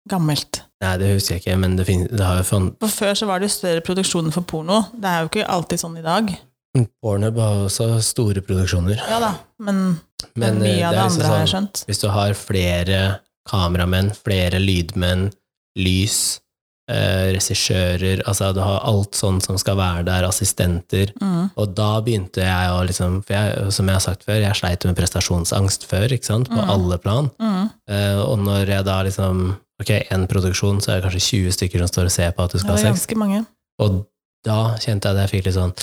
[SPEAKER 2] gammelt.
[SPEAKER 1] Nei, det husker jeg ikke, men det, fin det har jo fun
[SPEAKER 2] For før så var det jo større produksjoner for porno. Det er jo ikke alltid sånn i dag.
[SPEAKER 1] Pornhub har også store produksjoner.
[SPEAKER 2] Ja da, men,
[SPEAKER 1] Men
[SPEAKER 2] mye
[SPEAKER 1] eh,
[SPEAKER 2] av
[SPEAKER 1] det er
[SPEAKER 2] det andre
[SPEAKER 1] liksom
[SPEAKER 2] har
[SPEAKER 1] sånn
[SPEAKER 2] jeg skjønt.
[SPEAKER 1] Hvis du har flere kameramenn, flere lydmenn, lys, eh, regissører Altså du har alt sånn som skal være der, assistenter.
[SPEAKER 2] Mm.
[SPEAKER 1] Og da begynte jeg å liksom For jeg, som jeg har sagt før, jeg sleit med prestasjonsangst før, ikke sant, på
[SPEAKER 2] Mhm.
[SPEAKER 1] alle plan.
[SPEAKER 2] Mm.
[SPEAKER 1] Eh, og når jeg da liksom Ok, én produksjon, så er det kanskje 20 stykker som står og ser på at du
[SPEAKER 2] Det
[SPEAKER 1] skal ha
[SPEAKER 2] var
[SPEAKER 1] sex.
[SPEAKER 2] ganske mange.
[SPEAKER 1] Og da kjente jeg at jeg fikk litt sånn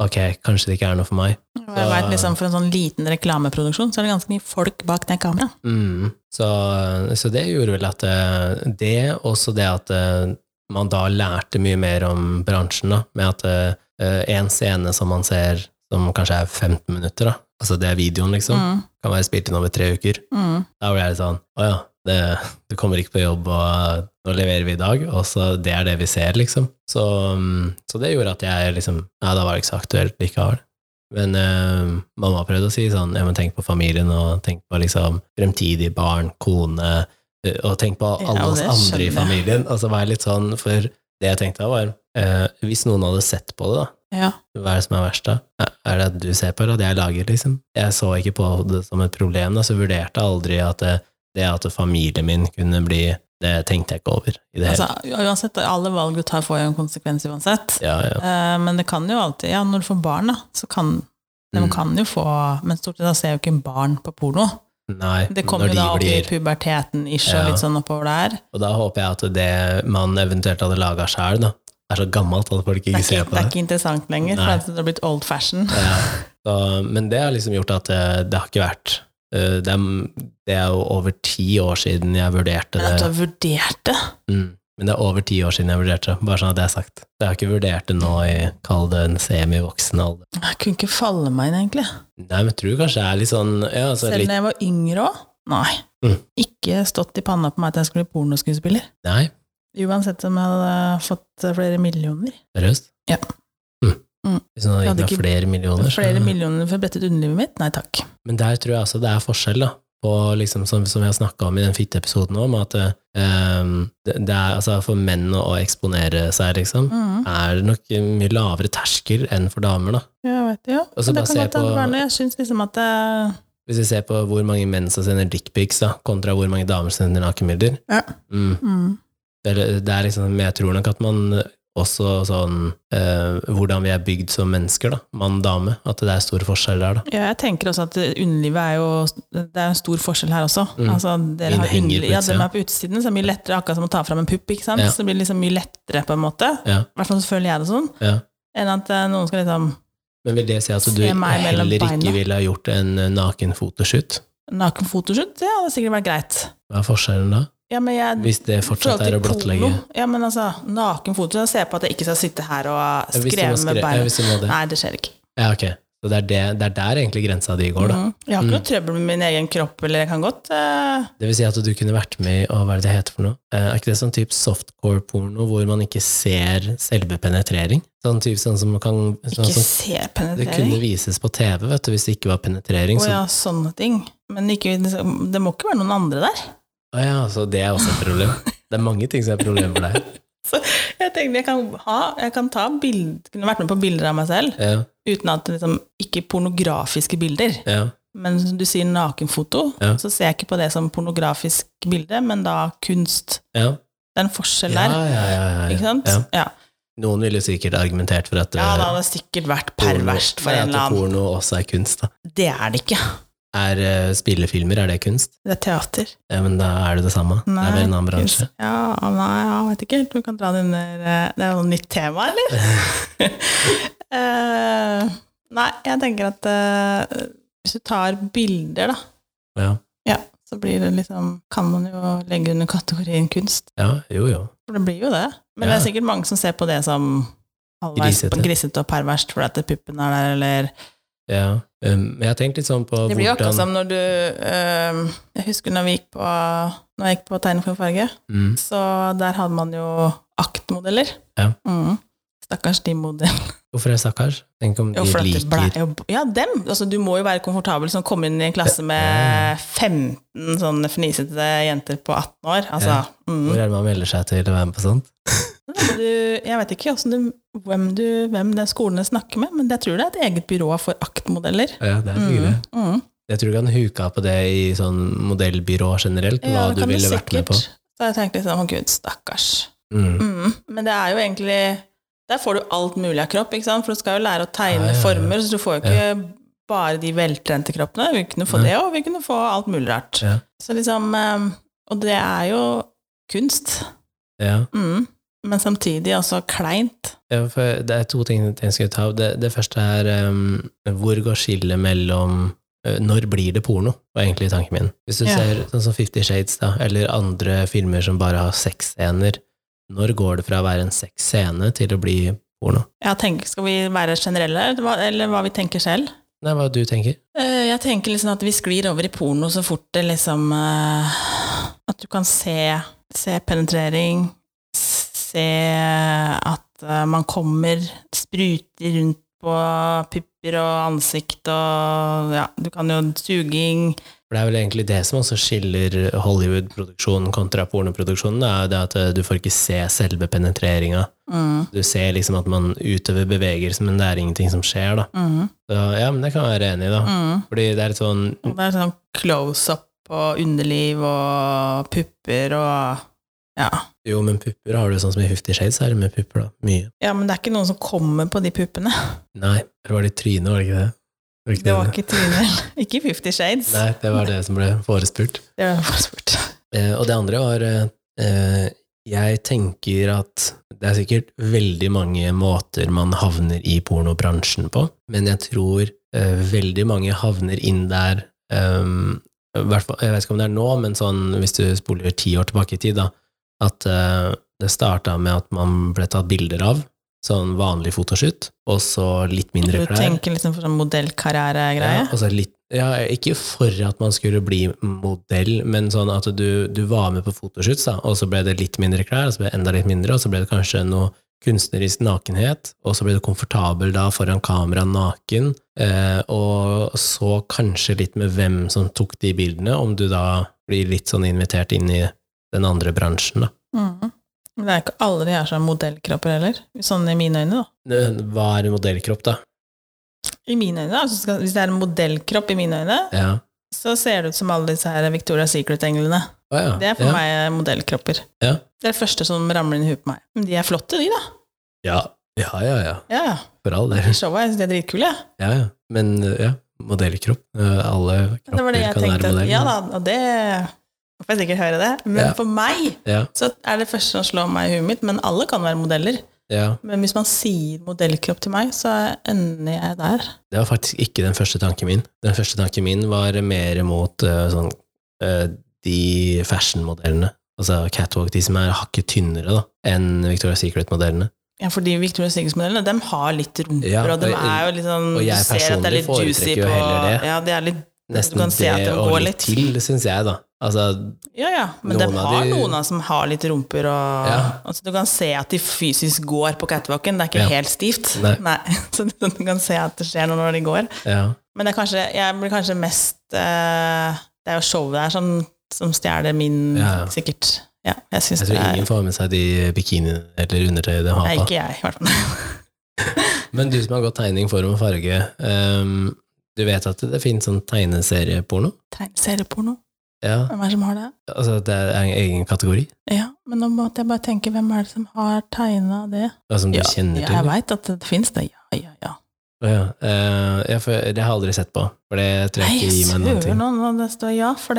[SPEAKER 1] Ok, kanskje det ikke er noe for meg.
[SPEAKER 2] Og jeg vet, liksom, For en sånn liten reklameproduksjon så er det ganske mye folk bak det kameraet.
[SPEAKER 1] Mm. Så, så det gjorde vel at eh, det, også det at eh, man da lærte mye mer om bransjen, da, med at eh, en scene som man ser som kanskje er 15 minutter, da, altså det er videoen, liksom,
[SPEAKER 2] Mm.
[SPEAKER 1] kan være spilt inn over tre uker.
[SPEAKER 2] Mm.
[SPEAKER 1] Da ble jeg litt sånn Å ja, det, du kommer ikke på jobb, og nå leverer vi i dag, og så det er det vi ser, liksom. Så, mm, så det gjorde at jeg liksom Nei, da var det ikke så aktuelt likevel. Men eh, mamma prøvde å si sånn Ja, men tenk på familien, og tenk på liksom fremtidige barn, kone, eh, og tenk på
[SPEAKER 2] Ja,
[SPEAKER 1] alle
[SPEAKER 2] og
[SPEAKER 1] oss
[SPEAKER 2] det
[SPEAKER 1] andre i
[SPEAKER 2] skjønner
[SPEAKER 1] familien. Og så var jeg litt sånn, for det jeg tenkte da, var eh, Hvis noen hadde sett på det, da,
[SPEAKER 2] Ja.
[SPEAKER 1] hva er det som er verst, da? Er det at du ser på, eller at jeg lager, liksom? Jeg så ikke på det som et problem, da, så vurderte jeg aldri at det, det at familien min kunne bli Det tenkte jeg ikke over i det hele
[SPEAKER 2] Altså, uansett, alle valg du tar, får jo en konsekvens uansett.
[SPEAKER 1] Ja, ja.
[SPEAKER 2] Eh, Men det kan jo alltid Ja, når du får barn, da, så kan de
[SPEAKER 1] Mm.
[SPEAKER 2] kan jo få Men stort sett da ser jo ikke barn på porno.
[SPEAKER 1] Nei.
[SPEAKER 2] Det kommer
[SPEAKER 1] når
[SPEAKER 2] jo
[SPEAKER 1] de
[SPEAKER 2] da opp i
[SPEAKER 1] blir-
[SPEAKER 2] puberteten ish
[SPEAKER 1] Ja.
[SPEAKER 2] og litt sånn oppover der.
[SPEAKER 1] Og da håper jeg at det man eventuelt hadde laga sjæl, da, er så gammelt at folk
[SPEAKER 2] Det
[SPEAKER 1] ikke
[SPEAKER 2] er ikke,
[SPEAKER 1] ser
[SPEAKER 2] det
[SPEAKER 1] på
[SPEAKER 2] er
[SPEAKER 1] det.
[SPEAKER 2] ikke interessant lenger, for
[SPEAKER 1] Nei.
[SPEAKER 2] at det har blitt old fashion.
[SPEAKER 1] Ja. Så, men det har liksom gjort at eh, det har ikke vært eh, det, er, det er jo over ti år siden jeg vurderte
[SPEAKER 2] Men at du
[SPEAKER 1] det.
[SPEAKER 2] har vurdert det!
[SPEAKER 1] Mm. Men det er over ti år siden jeg vurderte det, bare sånn at det er sagt. Jeg har ikke vurdert det nå i, kall det en semivoksen alder.
[SPEAKER 2] Jeg kunne ikke falle meg inn, egentlig.
[SPEAKER 1] Nei, men jeg tror kanskje jeg er litt sånn ja, altså,
[SPEAKER 2] Selv
[SPEAKER 1] litt,
[SPEAKER 2] når jeg var yngre òg. Nei.
[SPEAKER 1] Mm.
[SPEAKER 2] Ikke stått i panna på meg at jeg skulle bli pornoskuespiller.
[SPEAKER 1] Nei,
[SPEAKER 2] Uansett om jeg hadde fått flere millioner.
[SPEAKER 1] seriøst?
[SPEAKER 2] Ja.
[SPEAKER 1] Mm.
[SPEAKER 2] Mm.
[SPEAKER 1] Hvis noen
[SPEAKER 2] Jeg hadde
[SPEAKER 1] hadde gitt meg flere millioner. så-
[SPEAKER 2] Flere millioner for å brette ut underlivet mitt? Nei takk.
[SPEAKER 1] Men der tror jeg altså det er forskjell, da. På liksom, som, som jeg snakka om i den fitteepisoden om at eh, det, det er altså for menn å, å eksponere seg, liksom,
[SPEAKER 2] Mm.
[SPEAKER 1] er det nok mye lavere terskel enn for damer, da.
[SPEAKER 2] Jeg vet det, ja.
[SPEAKER 1] Og så
[SPEAKER 2] Men det
[SPEAKER 1] bare
[SPEAKER 2] kan
[SPEAKER 1] se
[SPEAKER 2] godt hende
[SPEAKER 1] på-
[SPEAKER 2] være noe. Jeg syns liksom at det
[SPEAKER 1] Hvis vi ser på hvor mange menn som sender dickpics, da, kontra hvor mange damer som sender nakenbilder.
[SPEAKER 2] Ja.
[SPEAKER 1] Mm.
[SPEAKER 2] mm.
[SPEAKER 1] Det er, det er liksom, jeg tror nok at man også sånn eh, Hvordan vi er bygd som mennesker, da. Mann, dame. At det er stor forskjell der, da.
[SPEAKER 2] ja, Jeg tenker også at underlivet er jo Det er en stor forskjell her også.
[SPEAKER 1] Mm.
[SPEAKER 2] Altså, dere har
[SPEAKER 1] Den henger
[SPEAKER 2] underliv,
[SPEAKER 1] på
[SPEAKER 2] ja,
[SPEAKER 1] utsida.
[SPEAKER 2] dem er på utsiden, så det er mye lettere akkurat som å ta fram en pupp. ikke sant?
[SPEAKER 1] Ja.
[SPEAKER 2] Så det blir liksom mye lettere, på en måte.
[SPEAKER 1] Ja.
[SPEAKER 2] I hvert fall så føler jeg det sånn.
[SPEAKER 1] Ja.
[SPEAKER 2] Enn at eh, noen skal liksom
[SPEAKER 1] Men vil det si at du
[SPEAKER 2] Se meg
[SPEAKER 1] heller
[SPEAKER 2] mellom beina.
[SPEAKER 1] ikke ville ha gjort en eh, naken fotoshoot?
[SPEAKER 2] Naken fotoshoot, det hadde sikkert vært greit.
[SPEAKER 1] Hva er forskjellen da?
[SPEAKER 2] Ja, men jeg
[SPEAKER 1] Hvis det fortsatt
[SPEAKER 2] forhold
[SPEAKER 1] er
[SPEAKER 2] til
[SPEAKER 1] å blottlegge?
[SPEAKER 2] porno- Ja, men altså, naken foto, jeg ser på at jeg ikke skal sitte her og
[SPEAKER 1] Ja, Hvis du må
[SPEAKER 2] skreve med
[SPEAKER 1] skre- ja,
[SPEAKER 2] beina.
[SPEAKER 1] hvis du må det.
[SPEAKER 2] Nei, det skjer ikke.
[SPEAKER 1] Ja, ok. Så det er, det, det er der egentlig grensa di går, da.
[SPEAKER 2] Mhm. Jeg har
[SPEAKER 1] Mm.
[SPEAKER 2] ikke noe trøbbel med min egen kropp, eller jeg kan godt eh,
[SPEAKER 1] Det vil si at du kunne vært med i, å, hva er det det heter for noe? Eh, er ikke det sånn type softcore-porno hvor man ikke ser selve penetrering? Sånn type sånn som man kan sånn,
[SPEAKER 2] ikke
[SPEAKER 1] som-
[SPEAKER 2] se
[SPEAKER 1] Det kunne
[SPEAKER 2] penetrering.
[SPEAKER 1] vises på TV, vet du, hvis det ikke var penetrering.
[SPEAKER 2] Å
[SPEAKER 1] Så,
[SPEAKER 2] ja, sånne ting. Men ikke, liksom, det må ikke være noen andre der.
[SPEAKER 1] Å ja, så det er også et problem. Det er mange ting som er et problem for deg.
[SPEAKER 2] Jeg tenkte jeg kan, ha, jeg kan ta bild, kunne vært med på bilder av meg selv,
[SPEAKER 1] Ja,
[SPEAKER 2] uten at det liksom, ikke pornografiske bilder.
[SPEAKER 1] ja.
[SPEAKER 2] Men som du sier nakenfoto,
[SPEAKER 1] Ja.
[SPEAKER 2] så ser jeg ikke på det som pornografisk bilde, men da kunst.
[SPEAKER 1] Ja,
[SPEAKER 2] Det er en forskjell
[SPEAKER 1] ja,
[SPEAKER 2] der,
[SPEAKER 1] ja, ja, ja,
[SPEAKER 2] ikke sant?
[SPEAKER 1] ja.
[SPEAKER 2] Ja,
[SPEAKER 1] Noen ville sikkert argumentert for at
[SPEAKER 2] ja
[SPEAKER 1] eh,
[SPEAKER 2] det hadde sikkert vært
[SPEAKER 1] porno-
[SPEAKER 2] perverst for
[SPEAKER 1] Nei,
[SPEAKER 2] en
[SPEAKER 1] At
[SPEAKER 2] eller annen.
[SPEAKER 1] porno også er kunst, da.
[SPEAKER 2] Det er det ikke.
[SPEAKER 1] Er eh, spillefilmer, er det kunst?
[SPEAKER 2] Det er teater.
[SPEAKER 1] Ja, men da er det det samme. det er vel en annen bransje.
[SPEAKER 2] kunst. Ja, nei, jeg vet ikke helt. Du kan dra den der eh, Det er noe nytt tema, eller? Eh, nei, jeg tenker at eh, hvis du tar bilder, da,
[SPEAKER 1] Ja.
[SPEAKER 2] ja, så blir det liksom Kan man jo legge under kategorien kunst.
[SPEAKER 1] ja, jo, jo.
[SPEAKER 2] For det blir jo det. Men det
[SPEAKER 1] Ja.
[SPEAKER 2] er sikkert mange som ser på det som halvveis
[SPEAKER 1] Grisete.
[SPEAKER 2] grisete og perverst fordi at puppen er der, eller
[SPEAKER 1] Ja. Um, jeg har tenkt litt sånn på
[SPEAKER 2] Det blir jo akkurat
[SPEAKER 1] hvordan
[SPEAKER 2] som når du eh, Jeg husker når vi gikk på Når jeg gikk på Tegning for farge.
[SPEAKER 1] mm,
[SPEAKER 2] Så der hadde man jo aktmodeller.
[SPEAKER 1] Ja.
[SPEAKER 2] Mm. Stakkars de modellene.
[SPEAKER 1] Hvorfor er jeg stakkars? Tenk om de
[SPEAKER 2] Jo, for at det
[SPEAKER 1] liker
[SPEAKER 2] blei jo- Ja, dem! Altså, du må jo være komfortabel som kommer inn i en klasse med 15 sånne fnisete jenter på 18 år. Altså,
[SPEAKER 1] Ja.
[SPEAKER 2] mm.
[SPEAKER 1] Hvor er det man melder seg til å være med på sånt?
[SPEAKER 2] du, Jeg vet ikke hvordan du, hvem, du, hvem de skolene snakker med, men jeg tror det er et eget byrå for aktmodeller.
[SPEAKER 1] Ja, det er hyggelig.
[SPEAKER 2] Mm. Mm.
[SPEAKER 1] Jeg tror du kan huke av på det i sånn modellbyrå generelt, hva
[SPEAKER 2] Ja, det
[SPEAKER 1] du
[SPEAKER 2] kan
[SPEAKER 1] ville vært med på.
[SPEAKER 2] sikkert. Så jeg tenkte liksom, å gud, stakkars.
[SPEAKER 1] Mm.
[SPEAKER 2] Mm. Men det er jo egentlig Der får du alt mulig av kropp, ikke sant? for du skal jo lære å tegne
[SPEAKER 1] Ja, ja, ja.
[SPEAKER 2] former, så du får jo ikke bare de veltrente kroppene. Vi kunne få
[SPEAKER 1] Nei.
[SPEAKER 2] det, og vi kunne få alt mulig rart.
[SPEAKER 1] Ja.
[SPEAKER 2] Så liksom eh, Og det er jo kunst.
[SPEAKER 1] Ja.
[SPEAKER 2] Mm. Men samtidig også kleint.
[SPEAKER 1] Ja, for det er to ting jeg skulle ta opp. Det, det første er ehm, hvor går skillet mellom eh, når blir det porno, var egentlig tanken min. Hvis du
[SPEAKER 2] Ja.
[SPEAKER 1] ser sånn som Fifty Shades, da, eller andre filmer som bare har sexscener, når går det fra å være en sexscene til å bli porno?
[SPEAKER 2] Jeg tenker, skal vi være generelle, eller hva- eller hva vi tenker selv?
[SPEAKER 1] Nei, hva du tenker?
[SPEAKER 2] Eh, Jeg tenker liksom at vi sklir over i porno så fort det liksom eh, At du kan se, se penetrering, se at eh, man kommer, spruter rundt på pupper og ansikt og ja, du kan jo suging
[SPEAKER 1] For det er vel egentlig det som også skiller Hollywood-produksjonen kontra pornoproduksjonen, det er jo det at eh, du får ikke se selve penetreringa.
[SPEAKER 2] mm,
[SPEAKER 1] Du ser liksom at man utøver bevegelser, men det er ingenting som skjer, da.
[SPEAKER 2] mm,
[SPEAKER 1] Så, ja, men det kan jeg være enig i, da.
[SPEAKER 2] mm.
[SPEAKER 1] Fordi det er et sånn
[SPEAKER 2] Og Det er sånn close-up og underliv og pupper og ja.
[SPEAKER 1] Jo, men pupper har du sånn som i Fifty Shades, er det med pupper, da. Mye.
[SPEAKER 2] ja, men det er ikke noen som kommer på de puppene.
[SPEAKER 1] Nei, eller var det i trynet, var det ikke det? ikke
[SPEAKER 2] Det var ikke Trine. Ikke Fifty Shades.
[SPEAKER 1] Nei, det var det som ble forespurt.
[SPEAKER 2] Det var bare spurt.
[SPEAKER 1] Eh, og det andre var eh, eh, Jeg tenker at det er sikkert veldig mange måter man havner i pornobransjen på, men jeg tror eh, veldig mange havner inn der ehm, i hvert fall, Jeg vet ikke om det er nå, men sånn hvis du spoler ti år tilbake i tid, da, at eh, det starta med at man ble tatt bilder av, sånn vanlig fotoshoot, og så litt mindre
[SPEAKER 2] Du
[SPEAKER 1] klær.
[SPEAKER 2] tenker liksom for sånn modellkarrieregreie?
[SPEAKER 1] Ja, altså litt, ja, ikke for at man skulle bli modell, men sånn at du, du var med på fotoshoots, da, og så ble det litt mindre klær, og så ble det enda litt mindre, og så ble det kanskje noe kunstnerisk nakenhet, og så ble du komfortabel da foran kamera naken, eh, og så kanskje litt med hvem som tok de bildene, om du da blir litt sånn invitert inn i den andre bransjen, da.
[SPEAKER 2] Mhm. Men det er ikke alle de her som har modellkropper heller. Sånn i mine øyne, da.
[SPEAKER 1] Det var modellkropp, da.
[SPEAKER 2] I mine øyne, da. Altså, skal- hvis det er en modellkropp i mine øyne,
[SPEAKER 1] Ja.
[SPEAKER 2] så ser det ut som alle disse her Victoria Secret-englene.
[SPEAKER 1] Å ja.
[SPEAKER 2] Det er for
[SPEAKER 1] ja.
[SPEAKER 2] meg modellkropper.
[SPEAKER 1] Ja.
[SPEAKER 2] Det er det første som ramler inn i huet på meg. Men de er flotte, de, da.
[SPEAKER 1] Ja. ja, ja, ja.
[SPEAKER 2] Ja, ja.
[SPEAKER 1] For all del.
[SPEAKER 2] I showet jeg synes de er dritkule, jeg.
[SPEAKER 1] Ja, ja. Men eh, ja, modellkropp. eh, Alle
[SPEAKER 2] Det var
[SPEAKER 1] kropper
[SPEAKER 2] det jeg
[SPEAKER 1] kan være
[SPEAKER 2] tenkte. At,
[SPEAKER 1] modell.
[SPEAKER 2] ja da, og det nå får jeg sikkert høre det. Men
[SPEAKER 1] Ja.
[SPEAKER 2] for meg
[SPEAKER 1] Ja,
[SPEAKER 2] så er det første som slår meg i huet mitt. Men alle kan være modeller.
[SPEAKER 1] ja.
[SPEAKER 2] Men hvis man sier modellkropp til meg, så ender jeg der.
[SPEAKER 1] Det var faktisk ikke den første tanken min. Den første tanken min var mer mot eh, sånn, eh, de fashion-modellene. Altså catwalk, de som er hakket tynnere da, enn Victoria's Secret-modellene.
[SPEAKER 2] Ja, fordi Victoria Siggers-modellene de har litt rumper,
[SPEAKER 1] Ja,
[SPEAKER 2] og de
[SPEAKER 1] og-
[SPEAKER 2] er jo litt sånn
[SPEAKER 1] og jeg
[SPEAKER 2] Du ser at det er litt
[SPEAKER 1] personlig
[SPEAKER 2] juicy
[SPEAKER 1] foretrekker jo
[SPEAKER 2] på
[SPEAKER 1] heller det.
[SPEAKER 2] Ja, det er litt
[SPEAKER 1] Nesten
[SPEAKER 2] Du kan se at
[SPEAKER 1] det
[SPEAKER 2] de
[SPEAKER 1] og
[SPEAKER 2] går
[SPEAKER 1] litt
[SPEAKER 2] litt.
[SPEAKER 1] til, syns jeg, da. Altså,
[SPEAKER 2] Ja, ja, men
[SPEAKER 1] Noen
[SPEAKER 2] de
[SPEAKER 1] av
[SPEAKER 2] har
[SPEAKER 1] de-
[SPEAKER 2] noen av som har litt rumper og
[SPEAKER 1] Ja.
[SPEAKER 2] altså, Du kan se at de fysisk går på catwalken, det er ikke
[SPEAKER 1] Ja.
[SPEAKER 2] helt stivt.
[SPEAKER 1] Nei.
[SPEAKER 2] Så du du kan se at det skjer noe når de går.
[SPEAKER 1] ja.
[SPEAKER 2] Men det er kanskje, jeg blir kanskje mest eh, Det er jo showet der som, som stjeler min,
[SPEAKER 1] Ja, ja.
[SPEAKER 2] sikkert. Ja, jeg syns
[SPEAKER 1] Jeg
[SPEAKER 2] det
[SPEAKER 1] tror
[SPEAKER 2] er
[SPEAKER 1] ingen får med seg de bikiniene eller undertøyet de
[SPEAKER 2] Nei,
[SPEAKER 1] har på.
[SPEAKER 2] ikke jeg, i hvert fall.
[SPEAKER 1] Men du som har gått tegning, form og farge, ehm, du vet at det finnes sånn tegneserieporno?
[SPEAKER 2] Tegneserieporno?
[SPEAKER 1] Ja,
[SPEAKER 2] Hvem er det som har det?
[SPEAKER 1] altså det er en egen kategori?
[SPEAKER 2] Ja, men nå måtte jeg bare tenke, hvem er det som har tegna det?
[SPEAKER 1] Ja, som du
[SPEAKER 2] Ja,
[SPEAKER 1] kjenner
[SPEAKER 2] ja,
[SPEAKER 1] til?
[SPEAKER 2] jeg veit at det fins, det. Ja, ja, ja.
[SPEAKER 1] Å ja. Eh, ja, for det har jeg aldri sett på, for det tror jeg ikke gir meg noen ting.
[SPEAKER 2] nå når det står ja, for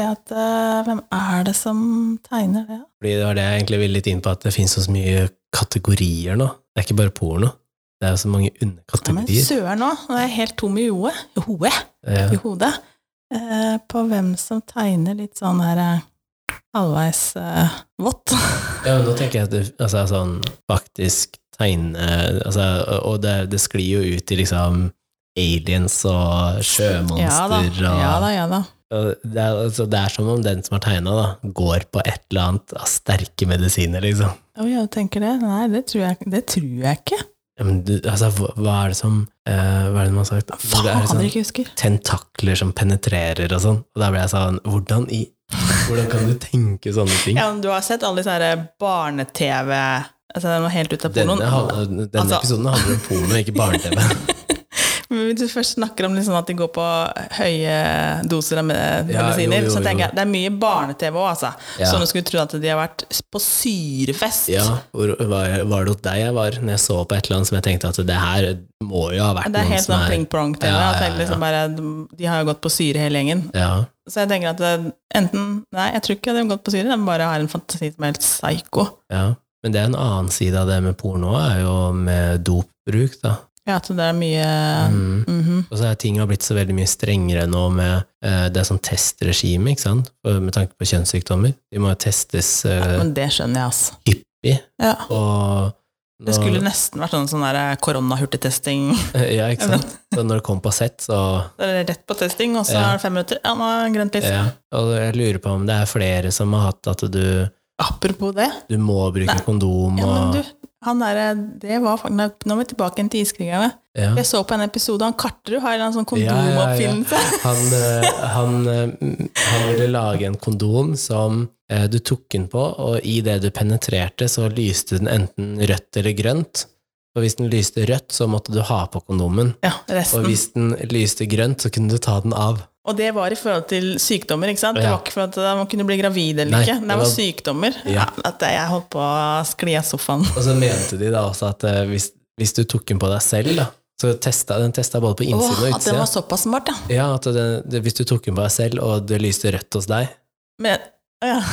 [SPEAKER 2] hvem er det som tegner det?
[SPEAKER 1] Fordi det var det jeg egentlig ville litt inn på, at det finnes så mye kategorier nå. Det er ikke bare porno. Det er jo så mange
[SPEAKER 2] Ja, men
[SPEAKER 1] underkategorier.
[SPEAKER 2] søren nå, nå er jeg helt tom i hodet, i hodet-
[SPEAKER 1] Ja,
[SPEAKER 2] i hodet, eh, på hvem som tegner litt sånn her eh, halvveis eh, vått.
[SPEAKER 1] Ja, men nå tenker jeg at det altså, sånn, faktisk tegne altså, Og det, det sklir jo ut i liksom aliens og
[SPEAKER 2] ja da,
[SPEAKER 1] sjømonster
[SPEAKER 2] ja da,
[SPEAKER 1] og
[SPEAKER 2] ja da.
[SPEAKER 1] og det, er, altså, det er som om den som har tegna, da, går på et eller annet av sterke medisiner, liksom.
[SPEAKER 2] Å ja, du tenker det? Nei, det tror jeg, det tror jeg ikke.
[SPEAKER 1] Ja, men du, altså, hva, hva er det som eh, Hva er det man har sagt?
[SPEAKER 2] Faen,
[SPEAKER 1] det er
[SPEAKER 2] jeg
[SPEAKER 1] sånn
[SPEAKER 2] ikke husker.
[SPEAKER 1] tentakler som penetrerer og sånn. Og da ble jeg sånn Hvordan i Hvordan kan du tenke sånne ting?
[SPEAKER 2] Ja, men du har sett alle disse her barne-TV Altså, den var helt ute av pornoen.
[SPEAKER 1] Denne, han- denne
[SPEAKER 2] Altså-
[SPEAKER 1] episoden handler om porno, ikke barne-TV.
[SPEAKER 2] Men Hvis du først snakker om liksom at de går på høye doser av med-
[SPEAKER 1] Ja,
[SPEAKER 2] medisiner,
[SPEAKER 1] jo, jo,
[SPEAKER 2] så
[SPEAKER 1] jo.
[SPEAKER 2] tenker jeg det er mye barne-TV òg, altså.
[SPEAKER 1] Ja.
[SPEAKER 2] Så du skulle tro at de har vært på syrefest.
[SPEAKER 1] Ja, hvor, var, jeg- var det hos deg jeg var når jeg så på et eller annet som jeg tenkte at det her må jo ha vært
[SPEAKER 2] Det er
[SPEAKER 1] noen
[SPEAKER 2] helt
[SPEAKER 1] som
[SPEAKER 2] sånn
[SPEAKER 1] er
[SPEAKER 2] pling-prong-TV.
[SPEAKER 1] Ja, ja,
[SPEAKER 2] at det er liksom bare, De har jo gått på syre hele gjengen.
[SPEAKER 1] ja,
[SPEAKER 2] Så jeg tenker at det, enten Nei, jeg tror ikke de har gått på syre, de bare har en fantasi som er helt psyko.
[SPEAKER 1] ja. Men det er en annen side av det med porno, er jo med dopbruk, da.
[SPEAKER 2] Ja, at det er mye
[SPEAKER 1] Mm.
[SPEAKER 2] mhm.
[SPEAKER 1] Og så er ting har blitt så veldig mye strengere nå med eh, det sånn testregime, ikke sant? For- Med tanke på kjønnssykdommer. De må jo testes eh,
[SPEAKER 2] ja, Men det skjønner jeg, altså.
[SPEAKER 1] hyppig,
[SPEAKER 2] Ja.
[SPEAKER 1] og
[SPEAKER 2] Det skulle nesten vært sånn, sånn der koronahurtigtesting.
[SPEAKER 1] Ja, ikke sant? Så når det kom på sett, så
[SPEAKER 2] Det er rett på testing, og så
[SPEAKER 1] Ja.
[SPEAKER 2] er det fem minutter. Ja, nå er det grønt lys.
[SPEAKER 1] ja. Og jeg lurer på om det er flere som har hatt at du,
[SPEAKER 2] Apropos det.
[SPEAKER 1] du må bruke kondom og
[SPEAKER 2] Ja, men du, han der, det var fak- Nei, Nå er vi tilbake igjen til iskrigerne.
[SPEAKER 1] Ja.
[SPEAKER 2] Jeg så på en episode, han Karterud har en eller annen sånn
[SPEAKER 1] Ja, ja, ja.
[SPEAKER 2] kondomoppfinnelse.
[SPEAKER 1] Han, eh, han, eh, mm, han ville lage en kondom som eh, du tok den på, og i det du penetrerte, så lyste den enten rødt eller grønt. Og hvis den lyste rødt, så måtte du ha på kondomen.
[SPEAKER 2] Ja,
[SPEAKER 1] Og
[SPEAKER 2] resten.
[SPEAKER 1] hvis den lyste grønt, så kunne du ta den av.
[SPEAKER 2] Og det var i forhold til sykdommer, ikke sant? Det
[SPEAKER 1] Ja.
[SPEAKER 2] var ikke for at man kunne bli gravid eller
[SPEAKER 1] Nei,
[SPEAKER 2] ikke.
[SPEAKER 1] det
[SPEAKER 2] Det var
[SPEAKER 1] var-
[SPEAKER 2] sykdommer.
[SPEAKER 1] Ja.
[SPEAKER 2] At jeg holdt på å skli av sofaen.
[SPEAKER 1] Og så mente de da også at eh, hvis, hvis du tok den på deg selv, da, så testa den testa både på
[SPEAKER 2] Åh,
[SPEAKER 1] innsiden og
[SPEAKER 2] at den
[SPEAKER 1] utsida.
[SPEAKER 2] var såpass smart, ja.
[SPEAKER 1] Ja, at det, det, hvis du tok den på deg selv, og det lyste rødt hos deg,
[SPEAKER 2] Men, ja.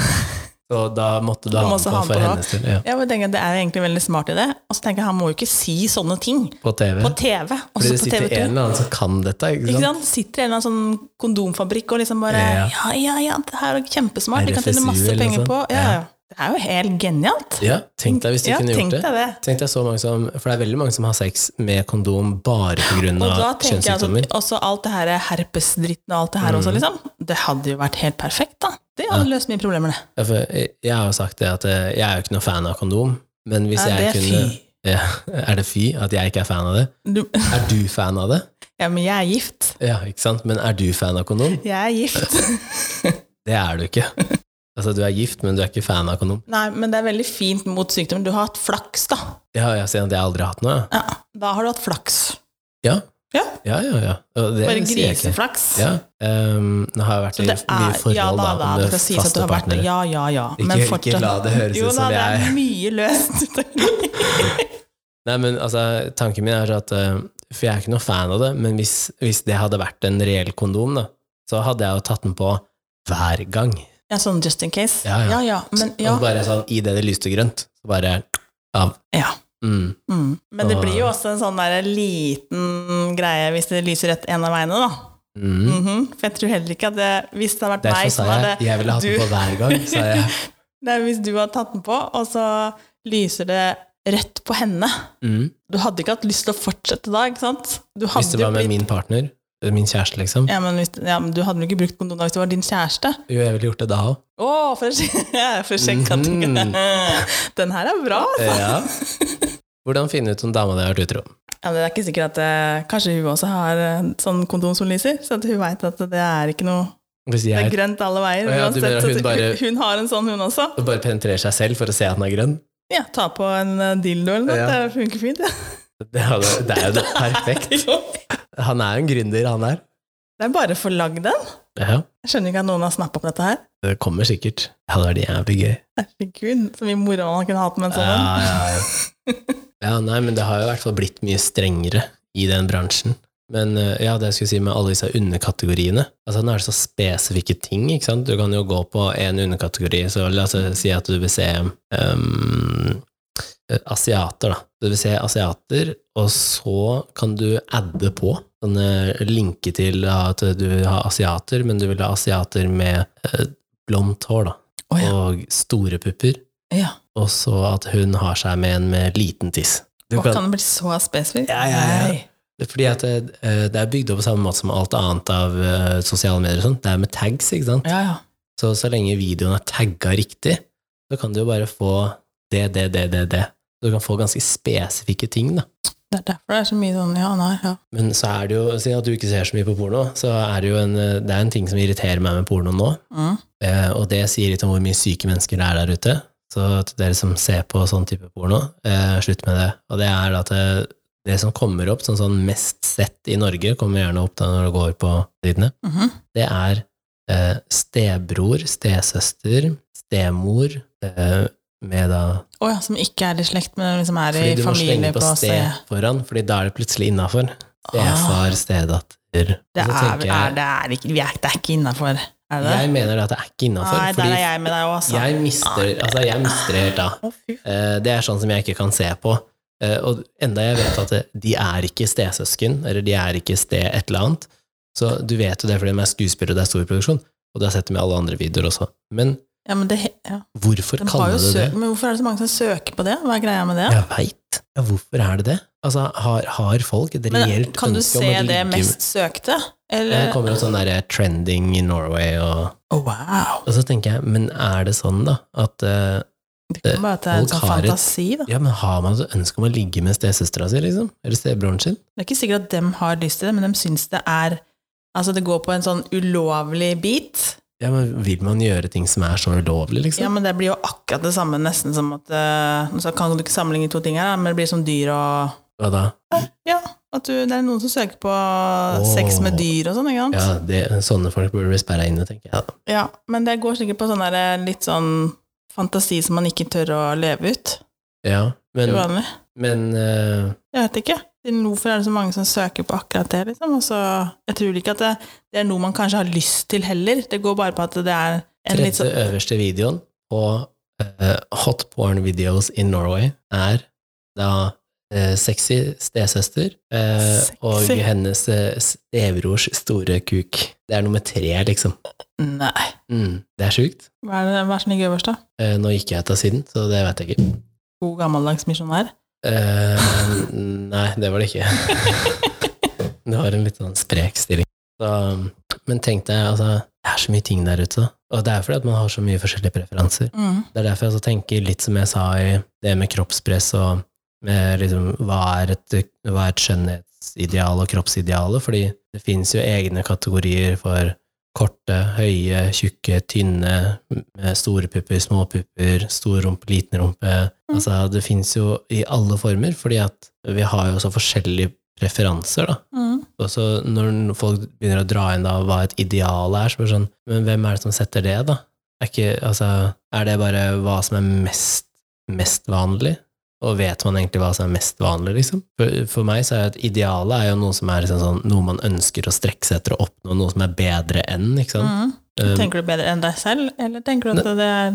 [SPEAKER 1] så da måtte du ha
[SPEAKER 2] Da
[SPEAKER 1] den
[SPEAKER 2] måtte
[SPEAKER 1] på
[SPEAKER 2] han
[SPEAKER 1] for
[SPEAKER 2] på, da.
[SPEAKER 1] hennes del. Ja,
[SPEAKER 2] Jeg bare tenker at det er egentlig veldig smart i det. Og så tenker jeg, han må jo ikke si sånne ting
[SPEAKER 1] på TV.
[SPEAKER 2] på TV.
[SPEAKER 1] Fordi
[SPEAKER 2] Også
[SPEAKER 1] det
[SPEAKER 2] på
[SPEAKER 1] sitter
[SPEAKER 2] TV 2.
[SPEAKER 1] en eller annen som kan dette, ikke sant?
[SPEAKER 2] Ikke sant? Sitter i en eller annen sånn kondomfabrikk og liksom bare
[SPEAKER 1] Ja.
[SPEAKER 2] Ja, ja, ja, det her er kjempesmart, vi kan tjene
[SPEAKER 1] RFSU
[SPEAKER 2] masse
[SPEAKER 1] eller noe
[SPEAKER 2] penger
[SPEAKER 1] sånt.
[SPEAKER 2] på. Ja,
[SPEAKER 1] Ja.
[SPEAKER 2] ja. Det er jo helt genialt.
[SPEAKER 1] Ja, tenk deg hvis du
[SPEAKER 2] Ja,
[SPEAKER 1] kunne
[SPEAKER 2] tenk
[SPEAKER 1] gjort det.
[SPEAKER 2] deg det.
[SPEAKER 1] Tenk deg så mange som, For det er veldig mange som har sex med kondom bare pga.
[SPEAKER 2] Og da tenker jeg
[SPEAKER 1] kjønnssykdommer. Mhm.
[SPEAKER 2] altså, også alt det her herpesdritten og alt det her også, liksom. Det hadde jo vært helt perfekt, da. Det hadde løst mye problemer, det.
[SPEAKER 1] Ja, for jeg jeg har jo sagt det at eh, jeg er jo ikke noen fan av kondom, men hvis
[SPEAKER 2] Ja,
[SPEAKER 1] jeg
[SPEAKER 2] det er
[SPEAKER 1] kunne
[SPEAKER 2] fy.
[SPEAKER 1] ja, Er det fy at jeg ikke er fan av det?
[SPEAKER 2] Du,
[SPEAKER 1] Er du fan av det?
[SPEAKER 2] ja, men jeg er gift.
[SPEAKER 1] Ja, ikke sant? Men er du fan av kondom?
[SPEAKER 2] Jeg er gift.
[SPEAKER 1] Det er du ikke. Altså, du er gift, men du er ikke fan av kondom.
[SPEAKER 2] Nei, men det er veldig fint mot sykdommen. Du har hatt flaks, da.
[SPEAKER 1] Ja, jeg sier at jeg aldri har hatt noe,
[SPEAKER 2] Ja, da har du hatt flaks.
[SPEAKER 1] ja.
[SPEAKER 2] Ja.
[SPEAKER 1] Ja, ja, ja. Og det
[SPEAKER 2] Bare
[SPEAKER 1] sier jeg ikke.
[SPEAKER 2] griseflaks.
[SPEAKER 1] Ja. ehm, nå har jeg vært
[SPEAKER 2] Så
[SPEAKER 1] i
[SPEAKER 2] det
[SPEAKER 1] mye
[SPEAKER 2] er,
[SPEAKER 1] forhold
[SPEAKER 2] ja da, da,
[SPEAKER 1] med
[SPEAKER 2] det skal sies at du
[SPEAKER 1] faste
[SPEAKER 2] har vært
[SPEAKER 1] partnere.
[SPEAKER 2] Ja, ja, ja.
[SPEAKER 1] Ikke- ikke la det høres
[SPEAKER 2] jo,
[SPEAKER 1] ut som
[SPEAKER 2] da, det
[SPEAKER 1] jeg-
[SPEAKER 2] er mye løst.
[SPEAKER 1] Nei, men altså, tanken min er at eh, For jeg er ikke noe fan av det, men hvis, hvis det hadde vært en reell kondom, da, så hadde jeg jo tatt den på hver gang.
[SPEAKER 2] ja, sånn just in case.
[SPEAKER 1] Ja, ja.
[SPEAKER 2] men, ja,
[SPEAKER 1] Og bare sånn, I det det lyste grønt, så bare av.
[SPEAKER 2] ja.
[SPEAKER 1] Mm.
[SPEAKER 2] Mm. men det
[SPEAKER 1] Og-
[SPEAKER 2] blir jo også en sånn der liten greie hvis det lyser rett en av veiene, da.
[SPEAKER 1] Mm.
[SPEAKER 2] Mhm. For jeg tror heller ikke at det, hvis det hadde vært meg
[SPEAKER 1] Derfor
[SPEAKER 2] som
[SPEAKER 1] sa jeg
[SPEAKER 2] hadde
[SPEAKER 1] jeg ville hatt den på hver gang. Sa jeg.
[SPEAKER 2] Nei, hvis du hadde tatt den på, og så lyser det rett på henne.
[SPEAKER 1] Mm.
[SPEAKER 2] Du hadde ikke hatt lyst til å fortsette da, ikke sant? Du hadde
[SPEAKER 1] Hvis det
[SPEAKER 2] jo
[SPEAKER 1] var med
[SPEAKER 2] blitt-
[SPEAKER 1] min partner, eller min kjæreste, liksom.
[SPEAKER 2] ja, men, hvis, ja, men Du hadde vel ikke brukt kondom da hvis det var din kjæreste?
[SPEAKER 1] Jo, jeg ville gjort det da òg.
[SPEAKER 2] Å, for å sjekke, for å sjekke at Den her er bra!
[SPEAKER 1] Mhm.
[SPEAKER 2] altså.
[SPEAKER 1] Ja. Hvordan finne ut om dama di har vært utro?
[SPEAKER 2] Ja, men det er ikke sikkert at eh, Kanskje hun også har eh, sånn kondom som lyser, så at hun veit at det er ikke noe
[SPEAKER 1] Hvis
[SPEAKER 2] Det er
[SPEAKER 1] jeg
[SPEAKER 2] grønt alle veier.
[SPEAKER 1] Å ja, du
[SPEAKER 2] uansett,
[SPEAKER 1] mener
[SPEAKER 2] så
[SPEAKER 1] hun
[SPEAKER 2] hun,
[SPEAKER 1] bare-
[SPEAKER 2] hun har en sånn, hun også.
[SPEAKER 1] bare penetrerer seg selv for å se at den er grønn,
[SPEAKER 2] Ja, ta på en eh, dildo eller noe.
[SPEAKER 1] Ja.
[SPEAKER 2] Det funker fint, det.
[SPEAKER 1] det er jo det er jo det perfekt.
[SPEAKER 2] det
[SPEAKER 1] Han er jo en gründer, han der.
[SPEAKER 2] er bare for lagd den.
[SPEAKER 1] Ja,
[SPEAKER 2] Jeg skjønner ikke at noen har snappa opp dette her.
[SPEAKER 1] det kommer sikkert. Det hadde vært jævlig gøy.
[SPEAKER 2] Herregud, så mye moro man kunne hatt med en sånn en.
[SPEAKER 1] Ja, ja, ja. ja, nei, men det har jo i hvert fall blitt mye strengere i den bransjen. Men eh, ja, det jeg skulle si med alle disse underkategoriene Altså Nå er det så spesifikke ting. ikke sant? Du kan jo gå på én underkategori. Så la oss si at du vil se ehm, eh, asiater, da. Du vil se asiater, og så kan du adde på sånne linke til at du vil ha asiater, men du vil ha asiater med eh, blondt hår, da.
[SPEAKER 2] Å, ja.
[SPEAKER 1] Og store pupper
[SPEAKER 2] Ja.
[SPEAKER 1] og så at hun har seg med en med liten tiss. Du
[SPEAKER 2] Og
[SPEAKER 1] kan-
[SPEAKER 2] kan det bli så spesifikk?
[SPEAKER 1] Ja, ja, ja.
[SPEAKER 2] Nei.
[SPEAKER 1] Fordi at det, eh, det er bygd opp på samme måte som alt annet av eh, sosiale medier. og sånt. Det er med tags, ikke sant?
[SPEAKER 2] Ja, ja.
[SPEAKER 1] Så så lenge videoen er tagga riktig, så kan du jo bare få det, det, det, det, det. Du kan få ganske spesifikke ting, da.
[SPEAKER 2] Det er derfor det er så mye sånn ja, nei, ja.
[SPEAKER 1] Men så er det jo, siden at du ikke ser så mye på porno, så er det jo en, eh, det er en ting som irriterer meg med porno nå.
[SPEAKER 2] Mm.
[SPEAKER 1] Eh, og det sier litt om hvor mye syke mennesker det er der ute. Så til dere som ser på sånn type porno, eh, slutt med det. Og det er at det, det som kommer opp, sånn, sånn mest sett i Norge, kommer gjerne opp da når du går på sidene,
[SPEAKER 2] Mhm.
[SPEAKER 1] det er eh, stebror, stesøster, stemor, eh, med da
[SPEAKER 2] Å ja, som ikke er i slekt, men liksom er i
[SPEAKER 1] Fordi du må slenge
[SPEAKER 2] familie
[SPEAKER 1] på
[SPEAKER 2] på
[SPEAKER 1] ste
[SPEAKER 2] sted. Ah.
[SPEAKER 1] foran, fordi da er det plutselig innafor. Stefar, stedatter.
[SPEAKER 2] Det
[SPEAKER 1] Og så
[SPEAKER 2] er,
[SPEAKER 1] tenker
[SPEAKER 2] er,
[SPEAKER 1] jeg,
[SPEAKER 2] det er ikke, vi er, det er ikke innafor. Er det det?
[SPEAKER 1] jeg mener at det er ikke innafor,
[SPEAKER 2] Nei, der
[SPEAKER 1] fordi
[SPEAKER 2] er jeg med deg òg, altså.
[SPEAKER 1] jeg mister, altså, jeg mister det helt da.
[SPEAKER 2] Å, fy f-
[SPEAKER 1] Eh, Det er sånn som jeg ikke kan se på. Eh, Og enda jeg vet at det- de er ikke stesøsken, eller de er ikke ste et eller annet. Så du vet jo det fordi de er skuespillere, og det er stor produksjon. Og det har jeg sett med alle andre videoer også. Men
[SPEAKER 2] Ja, men det, he- ja.
[SPEAKER 1] hvorfor
[SPEAKER 2] De har
[SPEAKER 1] kaller
[SPEAKER 2] jo
[SPEAKER 1] du det
[SPEAKER 2] søk,
[SPEAKER 1] det?
[SPEAKER 2] men hvorfor er det så mange som søker på det? Hva er greia med det?
[SPEAKER 1] Jeg veit. Ja, hvorfor er det det? Altså, har, har folk et
[SPEAKER 2] men
[SPEAKER 1] reelt
[SPEAKER 2] kan du
[SPEAKER 1] ønske om
[SPEAKER 2] se
[SPEAKER 1] å
[SPEAKER 2] det
[SPEAKER 1] ligge med
[SPEAKER 2] mest søkte?
[SPEAKER 1] det
[SPEAKER 2] Eller
[SPEAKER 1] kommer opp sånn derre trending i Norway, og,
[SPEAKER 2] Å, wow!
[SPEAKER 1] og så tenker jeg, men er det sånn, da, at eh,
[SPEAKER 2] Det kan bare at det er en
[SPEAKER 1] folk
[SPEAKER 2] sånn
[SPEAKER 1] har et-
[SPEAKER 2] fantasi, da.
[SPEAKER 1] Ja, men har man et ønske om å ligge med stesøstera si, liksom? Eller stebroren sin?
[SPEAKER 2] Det er ikke sikkert at dem har lyst til det, men de syns det er Altså, det går på en sånn ulovlig bit.
[SPEAKER 1] Ja, men vil man gjøre ting som er så ulovlig,
[SPEAKER 2] Ja,
[SPEAKER 1] liksom?
[SPEAKER 2] men det blir jo akkurat det samme, nesten som at eh, Nå så kan du ikke sammenligne to ting her, da, men det blir som dyr og
[SPEAKER 1] Hva da?
[SPEAKER 2] Ja, at du, det er noen som søker på sex med dyr og sånn, ikke sant?
[SPEAKER 1] Ja, det, sånne folk burde bli sperra inne, tenker jeg. da.
[SPEAKER 2] Ja, men det går sikkert på sånn der litt sånn fantasi som man ikke tør å leve ut.
[SPEAKER 1] Ja, men,
[SPEAKER 2] Til vanlig.
[SPEAKER 1] men eh,
[SPEAKER 2] Jeg vet ikke. Siden Hvorfor er det så mange som søker på akkurat det, liksom? Og så, jeg tror ikke at det, det er noe man kanskje har lyst til heller. Det går bare på at det er en
[SPEAKER 1] tredje
[SPEAKER 2] litt sånn
[SPEAKER 1] øverste videoen på eh, hot porn videos in Norway er da eh, sexy stesøster eh,
[SPEAKER 2] Sexy.
[SPEAKER 1] og hennes eh, stebrors store kuk. Det er nummer tre, liksom.
[SPEAKER 2] Nei.
[SPEAKER 1] Mm, det er sjukt.
[SPEAKER 2] Hva er det hva er det som ligger øverst, da?
[SPEAKER 1] Eh, nå gikk jeg ut av siden, så det vet jeg ikke.
[SPEAKER 2] God gammeldags misjonær?
[SPEAKER 1] Eh, nei, det var det ikke. det var en litt sånn sprek stilling. Så, men tenk deg, altså, det er så mye ting der ute. da. Og det er fordi at man har så mye forskjellige preferanser.
[SPEAKER 2] Mm.
[SPEAKER 1] Det er derfor jeg også tenker litt som jeg sa i det med kroppspress og med liksom, hva, er et, hva er et skjønnhetsideal og kroppsidealet? Fordi det finnes jo egne kategorier for korte, høye, tjukke, tynne, med store pupper, små pupper, stor rumpe, liten rumpe. Altså, det finnes jo i alle former, fordi at vi har jo så forskjellige preferanser, da.
[SPEAKER 2] Mm.
[SPEAKER 1] Og så når folk begynner å dra inn da hva et ideal er, så blir det sånn Men hvem er det som setter det, da? Er, ikke, altså, er det bare hva som er mest, mest vanlig? Og vet man egentlig hva som er mest vanlig, liksom? For, for meg så er jo at idealet er jo noe som er liksom sånn, noe man ønsker å strekke seg etter å oppnå, noe som er bedre enn, ikke sant?
[SPEAKER 2] Mm.
[SPEAKER 1] Um,
[SPEAKER 2] Tenker du bedre enn deg selv, eller tenker du at det er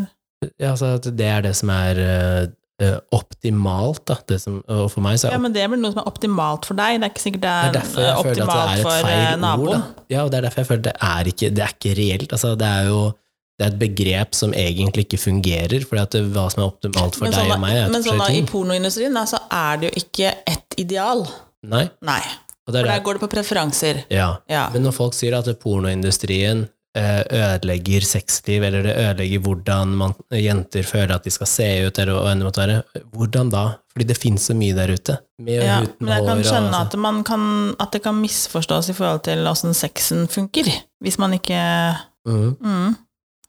[SPEAKER 1] ja, altså at det er det som er eh, eh, optimalt, da. Det som, og for meg så er
[SPEAKER 2] Ja, men det er vel noe som er optimalt for deg. Det er ikke sikkert det
[SPEAKER 1] Det er
[SPEAKER 2] er, eh,
[SPEAKER 1] derfor jeg føler
[SPEAKER 2] optimalt
[SPEAKER 1] at det er
[SPEAKER 2] for
[SPEAKER 1] et
[SPEAKER 2] eh,
[SPEAKER 1] feil ord.
[SPEAKER 2] naboen.
[SPEAKER 1] Da. Ja, og det er derfor jeg føler det er ikke, det er ikke reelt. Altså, det er jo det er et begrep som egentlig ikke fungerer, for hva som er optimalt for
[SPEAKER 2] Men
[SPEAKER 1] deg
[SPEAKER 2] sånn,
[SPEAKER 1] og meg, er to
[SPEAKER 2] men sånn da, i
[SPEAKER 1] forskjellige ting.
[SPEAKER 2] pornoindustrien da, så er det jo ikke ett ideal.
[SPEAKER 1] Nei,
[SPEAKER 2] Nei.
[SPEAKER 1] og det er
[SPEAKER 2] For der
[SPEAKER 1] det.
[SPEAKER 2] går det på preferanser.
[SPEAKER 1] Ja.
[SPEAKER 2] Ja.
[SPEAKER 1] Men når folk sier at pornoindustrien eh, ødelegger sexliv, eller det ødelegger hvordan man, jenter føler at de skal se ut, eller hva enn det måtte være, hvordan da? Fordi det finnes så mye der ute. Med og
[SPEAKER 2] Ja,
[SPEAKER 1] uten
[SPEAKER 2] men jeg
[SPEAKER 1] hår
[SPEAKER 2] kan
[SPEAKER 1] og- sånn.
[SPEAKER 2] skjønne at, man kan, at det kan misforstås i forhold til åssen sexen funker. Hvis man ikke
[SPEAKER 1] Mhm.
[SPEAKER 2] mm,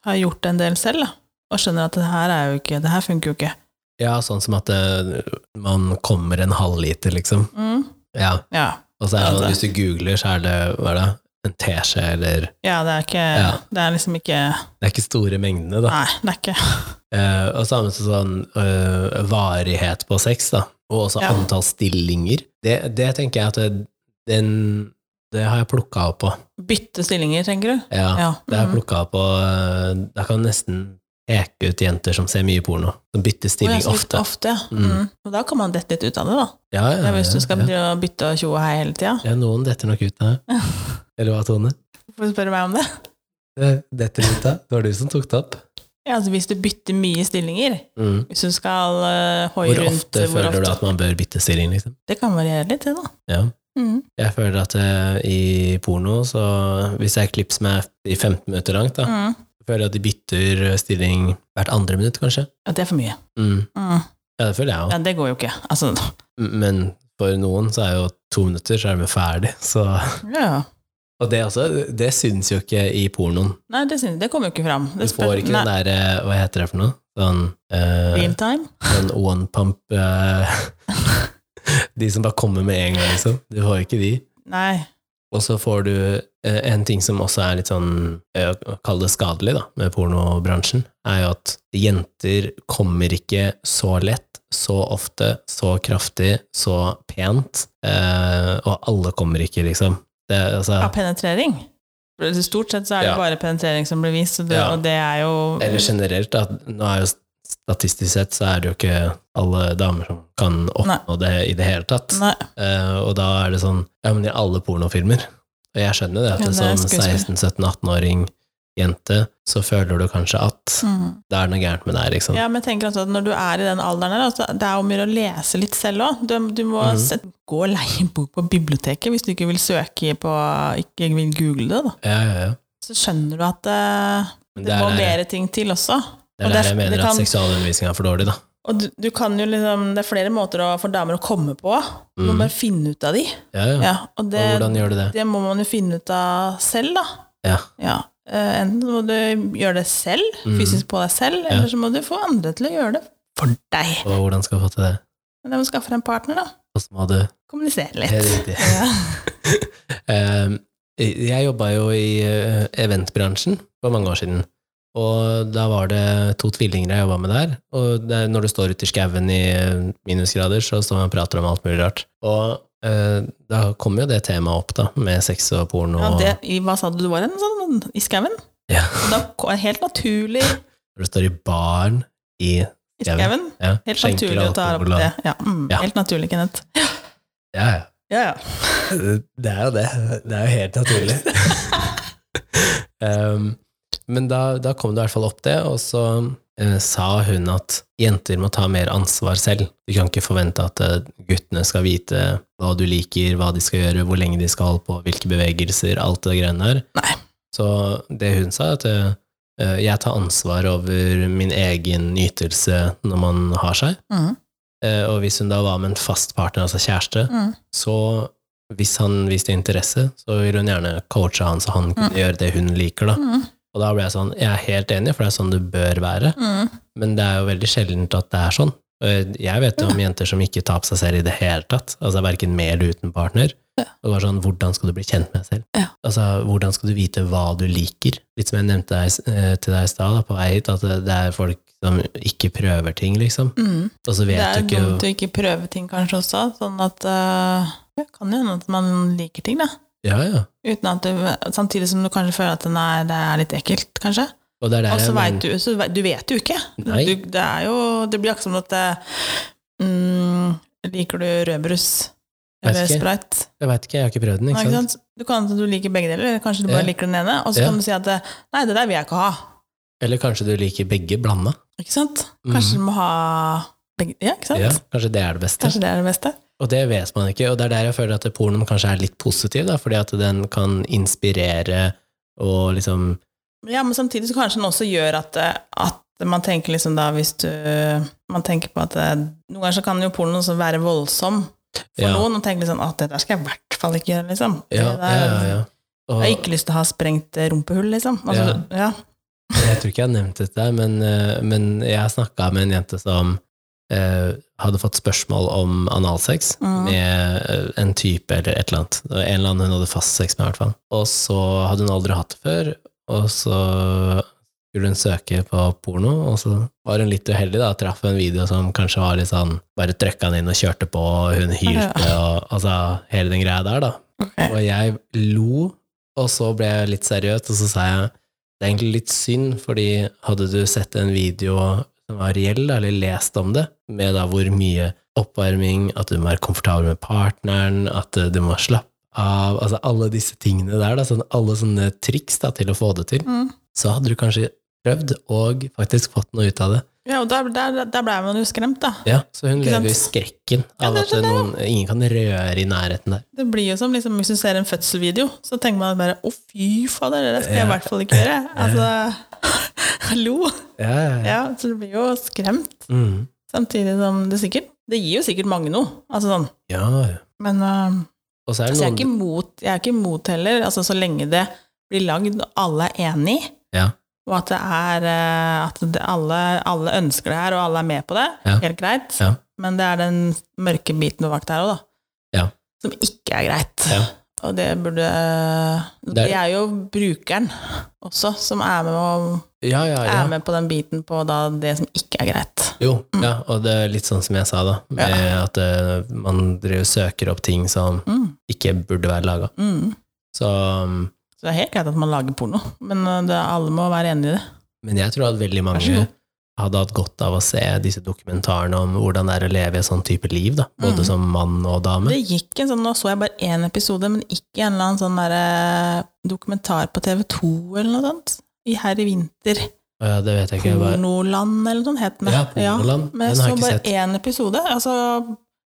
[SPEAKER 2] har gjort en del selv, da. Og skjønner at det her, er jo ikke, det her funker jo ikke.
[SPEAKER 1] Ja, sånn som at eh, man kommer en halvliter, liksom.
[SPEAKER 2] Mm,
[SPEAKER 1] Ja,
[SPEAKER 2] ja.
[SPEAKER 1] og så er det
[SPEAKER 2] Ja,
[SPEAKER 1] sånn,
[SPEAKER 2] det-
[SPEAKER 1] hvis du googler, så er det, hva er det, en teskje, eller
[SPEAKER 2] ja, det er ikke
[SPEAKER 1] Ja.
[SPEAKER 2] Det er liksom ikke
[SPEAKER 1] Det er ikke store mengdene, da.
[SPEAKER 2] Nei, det er ikke
[SPEAKER 1] Eh, og samme som sånn eh, varighet på sex, da. Og også
[SPEAKER 2] Ja.
[SPEAKER 1] antall stillinger. Det, det tenker jeg at det, den Det har jeg plukka opp på.
[SPEAKER 2] Bytte stillinger, tenker du?
[SPEAKER 1] Ja,
[SPEAKER 2] Ja.
[SPEAKER 1] Det har jeg
[SPEAKER 2] mm.
[SPEAKER 1] plukka opp på eh, Da kan du nesten peke ut jenter som ser mye porno. Som bytter
[SPEAKER 2] Å, ja,
[SPEAKER 1] stilling
[SPEAKER 2] så litt
[SPEAKER 1] ofte.
[SPEAKER 2] ofte ja.
[SPEAKER 1] Mm.
[SPEAKER 2] mm. Og da kan man dette litt ut av det, da.
[SPEAKER 1] Ja, ja,
[SPEAKER 2] Ja,
[SPEAKER 1] ja,
[SPEAKER 2] hvis du skal
[SPEAKER 1] ja.
[SPEAKER 2] drive og bytte og tjoe og hei hele tida.
[SPEAKER 1] ja, noen detter nok ut av det. Eller hva, Tone?
[SPEAKER 2] Får du spørre meg om det?
[SPEAKER 1] Det Detter ut av? Det var du som tok det opp.
[SPEAKER 2] Ja, altså Hvis du bytter mye stillinger,
[SPEAKER 1] Mm.
[SPEAKER 2] hvis du skal eh, hoie
[SPEAKER 1] Hvor
[SPEAKER 2] rundt
[SPEAKER 1] ofte
[SPEAKER 2] hvor
[SPEAKER 1] føler du
[SPEAKER 2] ofte-
[SPEAKER 1] at man bør bytte stilling, liksom?
[SPEAKER 2] Det kan variere litt, det, da.
[SPEAKER 1] Ja.
[SPEAKER 2] Mm.
[SPEAKER 1] Jeg føler at eh, i porno, så hvis det er et klipp som er i 15 minutter langt, da,
[SPEAKER 2] Mm.
[SPEAKER 1] Jeg føler at de bytter eh, stilling hvert andre minutt, kanskje.
[SPEAKER 2] Ja, det er for mye.
[SPEAKER 1] Mm.
[SPEAKER 2] Mm.
[SPEAKER 1] Ja, det føler jeg jo.
[SPEAKER 2] Ja, det går jo ikke. Altså,
[SPEAKER 1] M- Men for noen så er jo to minutter, så er de ferdig. Så.
[SPEAKER 2] ja.
[SPEAKER 1] Og det, også, det syns jo ikke i pornoen.
[SPEAKER 2] Nei, det, syns- det kommer jo ikke fram.
[SPEAKER 1] Du
[SPEAKER 2] Det
[SPEAKER 1] får ikke den
[SPEAKER 2] Nei,
[SPEAKER 1] der, eh, hva heter det for noe? Sånn, eh,
[SPEAKER 2] real time.
[SPEAKER 1] sånn one pump eh, De som bare kommer med en gang, liksom. Du får jo ikke de.
[SPEAKER 2] Nei.
[SPEAKER 1] Og så får du eh, en ting som også er litt sånn eh, å Kalle det skadelig, da, med pornobransjen, er jo at jenter kommer ikke så lett, så ofte, så kraftig, så pent. Eh, og alle kommer ikke, liksom. Det, er
[SPEAKER 2] Av
[SPEAKER 1] altså,
[SPEAKER 2] penetrering. Stort sett så er det
[SPEAKER 1] Ja.
[SPEAKER 2] bare penetrering som blir vist, og det,
[SPEAKER 1] Ja.
[SPEAKER 2] og det er jo
[SPEAKER 1] eller generelt, da. Nå er jo statistisk sett så er det jo ikke alle damer som kan oppnå det i det hele tatt.
[SPEAKER 2] Nei.
[SPEAKER 1] Eh, og da er det sånn Ja, men i alle pornofilmer. Og jeg skjønner det, at sånn
[SPEAKER 2] Ja,
[SPEAKER 1] det
[SPEAKER 2] det er
[SPEAKER 1] som
[SPEAKER 2] skuespill.
[SPEAKER 1] 16-17-18-åring jente, så føler du kanskje at
[SPEAKER 2] Mm.
[SPEAKER 1] det er noe gærent med deg, liksom.
[SPEAKER 2] Ja, men jeg tenker altså at når du er i den alderen her, altså, det er jo mye å lese litt selv òg. Du, du må
[SPEAKER 1] Mhm.
[SPEAKER 2] sette, gå og leie en bok på biblioteket hvis du ikke vil søke på Ikke vil google det, da.
[SPEAKER 1] Ja, ja, ja.
[SPEAKER 2] Så skjønner du at eh,
[SPEAKER 1] Men
[SPEAKER 2] det,
[SPEAKER 1] det er
[SPEAKER 2] må
[SPEAKER 1] der-
[SPEAKER 2] mer ting til også.
[SPEAKER 1] Det er
[SPEAKER 2] og
[SPEAKER 1] der
[SPEAKER 2] det er-
[SPEAKER 1] jeg mener
[SPEAKER 2] det
[SPEAKER 1] at
[SPEAKER 2] kan-
[SPEAKER 1] seksualundervisning er for dårlig, da.
[SPEAKER 2] Og du, du kan jo liksom Det er flere måter å, for damer å komme på. Du må
[SPEAKER 1] Mhm.
[SPEAKER 2] bare finne ut av de.
[SPEAKER 1] Ja, ja.
[SPEAKER 2] Ja, og det,
[SPEAKER 1] og hvordan gjør du det?
[SPEAKER 2] det må man jo finne ut av selv, da.
[SPEAKER 1] Ja.
[SPEAKER 2] Eh, enten må du gjøre det selv,
[SPEAKER 1] Mhm.
[SPEAKER 2] fysisk på deg selv, eller så må du få andre til å gjøre det for deg.
[SPEAKER 1] Og hvordan skal du få til det?
[SPEAKER 2] Men de må skaffe deg en partner, da.
[SPEAKER 1] Og så må du
[SPEAKER 2] Kommunisere
[SPEAKER 1] Helt
[SPEAKER 2] litt.
[SPEAKER 1] riktig.
[SPEAKER 2] Ja.
[SPEAKER 1] Eh, Jeg jobba jo i eh, eventbransjen for mange år siden. Og da var det to tvillinger jeg jobba med der. Og det, er- når du står ute i skauen i eh, minusgrader, så står man og prater om alt mulig rart. Og eh, da kom jo det temaet opp, da, med sex og porno.
[SPEAKER 2] Ja,
[SPEAKER 1] og-
[SPEAKER 2] det, i, hva sa du du var en sånn i skauen?
[SPEAKER 1] Ja.
[SPEAKER 2] Da ko- er det helt naturlig
[SPEAKER 1] Når du står i baren i
[SPEAKER 2] i
[SPEAKER 1] Skauen.
[SPEAKER 2] skauen.
[SPEAKER 1] ja,
[SPEAKER 2] Helt
[SPEAKER 1] skjenker
[SPEAKER 2] naturlig å ta opp
[SPEAKER 1] alkohol og-
[SPEAKER 2] det. Ja, mm,
[SPEAKER 1] Ja.
[SPEAKER 2] Helt naturlig, Kenneth.
[SPEAKER 1] Ja, ja.
[SPEAKER 2] Ja, ja.
[SPEAKER 1] Det er jo det. Det er jo helt naturlig. um, men da, da kom det i hvert fall opp det, og så eh, sa hun at jenter må ta mer ansvar selv. Du kan ikke forvente at eh, guttene skal vite hva du liker, hva de skal gjøre, hvor lenge de skal holde på, hvilke bevegelser, alt det greiene der.
[SPEAKER 2] Nei.
[SPEAKER 1] Så det hun sa, er at eh, jeg tar ansvar over min egen ytelse når man har seg.
[SPEAKER 2] Mm,
[SPEAKER 1] Eh, Og hvis hun da var med en fast partner, altså kjæreste,
[SPEAKER 2] mm,
[SPEAKER 1] så hvis han viste interesse, så ville hun gjerne coache han så han kunne gjøre det hun liker. da.
[SPEAKER 2] mm,
[SPEAKER 1] Og da ble jeg sånn, jeg er helt enig, for det er sånn det bør være,
[SPEAKER 2] mm.
[SPEAKER 1] men det er jo veldig sjeldent at det er sånn. Og Jeg vet jo
[SPEAKER 2] Mm.
[SPEAKER 1] om jenter som ikke tar på seg selv i det hele tatt, altså verken med eller uten partner.
[SPEAKER 2] Ja.
[SPEAKER 1] Og det var sånn, hvordan skal du bli kjent med deg selv?
[SPEAKER 2] Ja.
[SPEAKER 1] Altså, hvordan skal du vite hva du liker? Litt som jeg nevnte deg, eh, til deg i stad, da, på vei hit, at det- det er folk som ikke prøver ting, liksom.
[SPEAKER 2] mm.
[SPEAKER 1] Og så
[SPEAKER 2] Det
[SPEAKER 1] vet
[SPEAKER 2] er
[SPEAKER 1] du ikke
[SPEAKER 2] dumt å ikke prøve ting kanskje også, sånn at øh, det kan jo hende at man liker ting, da.
[SPEAKER 1] Ja, ja.
[SPEAKER 2] Uten at du, samtidig som du kanskje føler at den er, det er litt ekkelt, kanskje.
[SPEAKER 1] Og det er der
[SPEAKER 2] Og så
[SPEAKER 1] jeg mener-
[SPEAKER 2] vet du, så vet, du vet jo ikke.
[SPEAKER 1] Nei.
[SPEAKER 2] Du, det er jo Det blir akkurat som at eh, mm, Liker du rødbrus
[SPEAKER 1] Vet
[SPEAKER 2] eller
[SPEAKER 1] ikke.
[SPEAKER 2] sprite?
[SPEAKER 1] Jeg vet ikke, jeg har ikke prøvd den,
[SPEAKER 2] Nei,
[SPEAKER 1] ikke sant?
[SPEAKER 2] Du kan hende du liker begge deler, eller kanskje du
[SPEAKER 1] Ja.
[SPEAKER 2] bare liker den ene. Og så
[SPEAKER 1] Ja.
[SPEAKER 2] kan du si at eh, 'nei, det der vil jeg ikke ha'.
[SPEAKER 1] Eller kanskje du liker begge blanda?
[SPEAKER 2] Ikke sant? Kanskje du må ha begge Ja, ikke sant?
[SPEAKER 1] Mhm. Ja, kanskje det er det beste?
[SPEAKER 2] Kanskje det er det beste?
[SPEAKER 1] Og det vet man ikke, og det er der jeg føler at pornoen kanskje er litt positiv, da, fordi at den kan inspirere og liksom
[SPEAKER 2] Ja, men samtidig så kanskje den også gjør at, at man tenker liksom da hvis du Man tenker på at eh, Noen ganger så kan jo pornoen også være voldsom for
[SPEAKER 1] Ja.
[SPEAKER 2] noen, og tenker liksom at det der skal jeg i hvert fall ikke gjøre, liksom.
[SPEAKER 1] Ja,
[SPEAKER 2] Det der-
[SPEAKER 1] ja, ja. ja.
[SPEAKER 2] Jeg
[SPEAKER 1] Og,
[SPEAKER 2] har ikke lyst til å ha sprengt eh, rumpehull, liksom. Altså, ja.
[SPEAKER 1] Jeg tror ikke jeg har nevnt dette, men, eh, men jeg snakka med en jente som eh, hadde fått spørsmål om analsex
[SPEAKER 2] Mm.
[SPEAKER 1] med eh, en type eller et eller annet. Det var En eller annen hun hadde fast sex med, i hvert fall. Og så hadde hun aldri hatt det før, og så skulle hun søke på porno, og så var hun litt uheldig, da. Traff en video som kanskje var litt sånn Bare trøkka han inn og kjørte på, og hun hylte, og altså hele den greia der, da.
[SPEAKER 2] Ok.
[SPEAKER 1] Og jeg lo, og så ble jeg litt seriøs, og så sa jeg det er egentlig litt synd, fordi hadde du sett en video som var reell, da, eller lest om det, med da hvor mye oppvarming, at du må være komfortabel med partneren, at eh, du må slappe av, altså alle disse tingene der, da, sånn, alle sånne triks da, til å få det til,
[SPEAKER 2] Mm.
[SPEAKER 1] så hadde du kanskje prøvd og faktisk fått noe ut av det.
[SPEAKER 2] Ja, og der, der, der ble man jo skremt, da.
[SPEAKER 1] Ja, så hun
[SPEAKER 2] Ikke sant?
[SPEAKER 1] lever i skrekken av
[SPEAKER 2] det
[SPEAKER 1] at
[SPEAKER 2] skjønner
[SPEAKER 1] noen, ingen kan røre i nærheten der.
[SPEAKER 2] Det blir jo som liksom, hvis du ser en fødselsvideo, så tenker man bare 'å, fy fader, det der skal jeg i hvert fall ikke gjøre'. Altså, hallo!
[SPEAKER 1] Ja, ja, ja.
[SPEAKER 2] Ja, så du blir jo skremt.
[SPEAKER 1] Mm.
[SPEAKER 2] Samtidig som det sikkert Det gir jo sikkert mange noe. Altså sånn.
[SPEAKER 1] ja. ja.
[SPEAKER 2] Men øh,
[SPEAKER 1] Og så er det
[SPEAKER 2] så jeg er
[SPEAKER 1] noen...
[SPEAKER 2] ikke imot, jeg er ikke imot heller, altså så lenge det blir lagd og alle er enig,
[SPEAKER 1] Ja.
[SPEAKER 2] og at det er øh, At det, alle, alle ønsker det her, og alle er med på det,
[SPEAKER 1] Ja.
[SPEAKER 2] helt greit.
[SPEAKER 1] Ja.
[SPEAKER 2] Men det er den mørke biten bak der òg, da.
[SPEAKER 1] Ja.
[SPEAKER 2] Som ikke er greit.
[SPEAKER 1] Ja.
[SPEAKER 2] Og det burde Det,
[SPEAKER 1] Det er-
[SPEAKER 2] er jo brukeren også som er med, og,
[SPEAKER 1] Ja, ja, ja.
[SPEAKER 2] er med på den biten på da det som ikke er greit.
[SPEAKER 1] Jo, ja, og det er litt sånn som jeg sa, da. Med at eh, man driver og søker opp ting som
[SPEAKER 2] Mm.
[SPEAKER 1] ikke burde være laga.
[SPEAKER 2] Mm.
[SPEAKER 1] Så um,
[SPEAKER 2] Så det er helt greit at man lager porno, men uh, det, alle må være enig i det.
[SPEAKER 1] Men jeg tror at veldig
[SPEAKER 2] Vær så
[SPEAKER 1] mange
[SPEAKER 2] god.
[SPEAKER 1] hadde hatt godt av å se disse dokumentarene om hvordan det er å leve et sånn type liv, da. Både
[SPEAKER 2] Mm.
[SPEAKER 1] som mann og dame.
[SPEAKER 2] Det gikk en sånn, Nå så jeg bare én episode, men ikke en eller annen sånn der, eh, dokumentar på TV2 eller noe sånt. I Her i vinter.
[SPEAKER 1] Og ja, det vet jeg ikke. Bare,
[SPEAKER 2] Pornoland eller noe sånt het den.
[SPEAKER 1] ja, Pornoland.
[SPEAKER 2] men jeg
[SPEAKER 1] den har
[SPEAKER 2] så
[SPEAKER 1] jeg ikke
[SPEAKER 2] bare
[SPEAKER 1] sett.
[SPEAKER 2] én episode. Altså,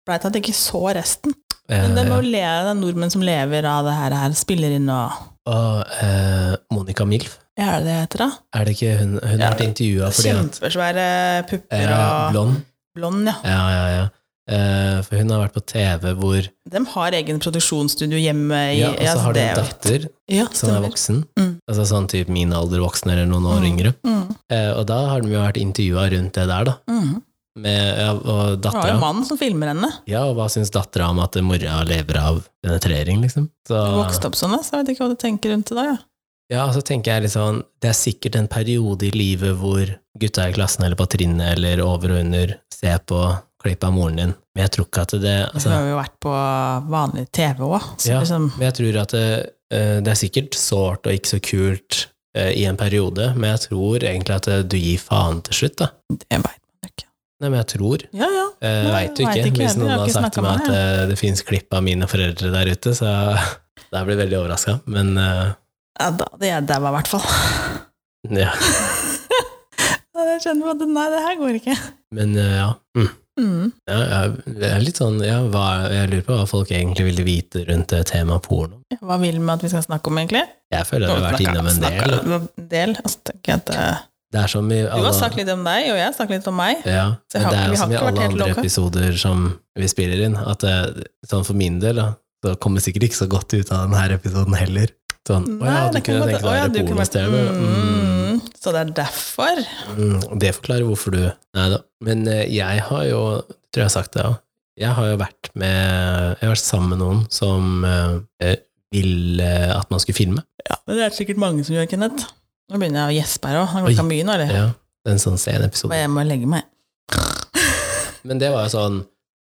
[SPEAKER 2] Blei til at jeg ikke så resten. Men det
[SPEAKER 1] Eh,
[SPEAKER 2] må jo le av nordmenn som lever av det her, her spiller inn og
[SPEAKER 1] og eh, Monica Milf,
[SPEAKER 2] Hva er det det heter, da?
[SPEAKER 1] er det ikke hun Hun har
[SPEAKER 2] Ja.
[SPEAKER 1] vært intervjua fordi at
[SPEAKER 2] Kjempesvære pupper
[SPEAKER 1] ja,
[SPEAKER 2] og
[SPEAKER 1] Blond.
[SPEAKER 2] Blond, ja.
[SPEAKER 1] Ja, ja, ja. Eh, for hun har vært på TV hvor
[SPEAKER 2] De har egen produksjonsstudio hjemme i
[SPEAKER 1] Ja, og så har du en datter
[SPEAKER 2] ja,
[SPEAKER 1] som er
[SPEAKER 2] stemmer.
[SPEAKER 1] voksen.
[SPEAKER 2] Mm.
[SPEAKER 1] Altså sånn type min alder voksen eller noen år
[SPEAKER 2] Mm.
[SPEAKER 1] yngre.
[SPEAKER 2] Mm.
[SPEAKER 1] Eh, og da har de jo vært intervjua rundt det der, da.
[SPEAKER 2] Mm.
[SPEAKER 1] Med, ja, og
[SPEAKER 2] Det var jo
[SPEAKER 1] dattera.
[SPEAKER 2] mannen som filmer henne.
[SPEAKER 1] Ja, og hva syns dattera om at mora lever av penetrering, liksom? Så,
[SPEAKER 2] Hun vokste opp sånn, da, så jeg vet ikke hva du tenker rundt det da. Ja.
[SPEAKER 1] ja, og så tenker jeg litt sånn, det er sikkert en periode i livet hvor gutta i klassen eller på trinnet eller over og under ser på klipp av moren din, men jeg tror ikke at det
[SPEAKER 2] Hun
[SPEAKER 1] altså,
[SPEAKER 2] har jo vært på vanlig TV òg, så
[SPEAKER 1] Ja.
[SPEAKER 2] liksom
[SPEAKER 1] Men jeg tror at det, eh, det er sikkert sårt og ikke så kult eh, i en periode, men jeg tror egentlig at eh, du gir faen til slutt, da.
[SPEAKER 2] Det veit man jo ikke.
[SPEAKER 1] Nei, men jeg tror.
[SPEAKER 2] Ja, ja.
[SPEAKER 1] Jeg
[SPEAKER 2] Nei,
[SPEAKER 1] Eh, veit jo
[SPEAKER 2] jeg
[SPEAKER 1] ikke.
[SPEAKER 2] vet ikke
[SPEAKER 1] Hvis
[SPEAKER 2] heller,
[SPEAKER 1] noen
[SPEAKER 2] jeg har
[SPEAKER 1] har
[SPEAKER 2] ikke
[SPEAKER 1] sagt til meg
[SPEAKER 2] snakket
[SPEAKER 1] at
[SPEAKER 2] med
[SPEAKER 1] eh, det finnes klipp av mine foreldre der ute, så da blir jeg veldig overraska. Men eh,
[SPEAKER 2] ja da hadde jeg daua, i hvert fall.
[SPEAKER 1] ja.
[SPEAKER 2] Da hadde Jeg skjønner at nei, det her går ikke.
[SPEAKER 1] Men, eh, ja. Mm.
[SPEAKER 2] Mm.
[SPEAKER 1] Ja, ja, det er litt sånn, ja, hva, jeg lurer på hva folk egentlig ville vite rundt eh, temaet porno.
[SPEAKER 2] Ja, Hva vil vi at vi skal snakke om, egentlig?
[SPEAKER 1] Jeg føler at vi har vært
[SPEAKER 2] Snakka-
[SPEAKER 1] innom en del.
[SPEAKER 2] snakka en del. Altså, tenker jeg at, eh,
[SPEAKER 1] Det er som i
[SPEAKER 2] du har
[SPEAKER 1] alle,
[SPEAKER 2] snakket litt om deg, og jeg har snakket litt om meg.
[SPEAKER 1] ja,
[SPEAKER 2] Så jeg
[SPEAKER 1] men
[SPEAKER 2] har-
[SPEAKER 1] det er
[SPEAKER 2] vi
[SPEAKER 1] jo
[SPEAKER 2] har
[SPEAKER 1] som i
[SPEAKER 2] ikke vært
[SPEAKER 1] alle
[SPEAKER 2] helt
[SPEAKER 1] andre
[SPEAKER 2] lukka.
[SPEAKER 1] episoder som vi spiller inn, at eh, sånn for min del, da, så kommer sikkert ikke så godt ut av denne episoden heller. Sånn, å ja,
[SPEAKER 2] Nei,
[SPEAKER 1] du
[SPEAKER 2] det kan
[SPEAKER 1] kunne
[SPEAKER 2] godt-
[SPEAKER 1] tenke deg å
[SPEAKER 2] å ja,
[SPEAKER 1] være
[SPEAKER 2] du kunne vært-
[SPEAKER 1] pornostjerne. Mm.
[SPEAKER 2] Mm, Så det er derfor?
[SPEAKER 1] Mm, og det forklarer hvorfor du Nei da. Men eh, jeg har jo, tror jeg har sagt det òg, jeg har jo vært med Jeg har vært sammen med noen som eh, ville at man skulle filme.
[SPEAKER 2] Ja, men det er sikkert mange som gjør, Kenneth. Nå begynner jeg å gjespe her òg. Har
[SPEAKER 1] Oi.
[SPEAKER 2] klokka mye nå, eller?
[SPEAKER 1] Ja, det er en sånn
[SPEAKER 2] Og
[SPEAKER 1] sceneepisode.
[SPEAKER 2] jeg må legge meg.
[SPEAKER 1] Men det var jo sånn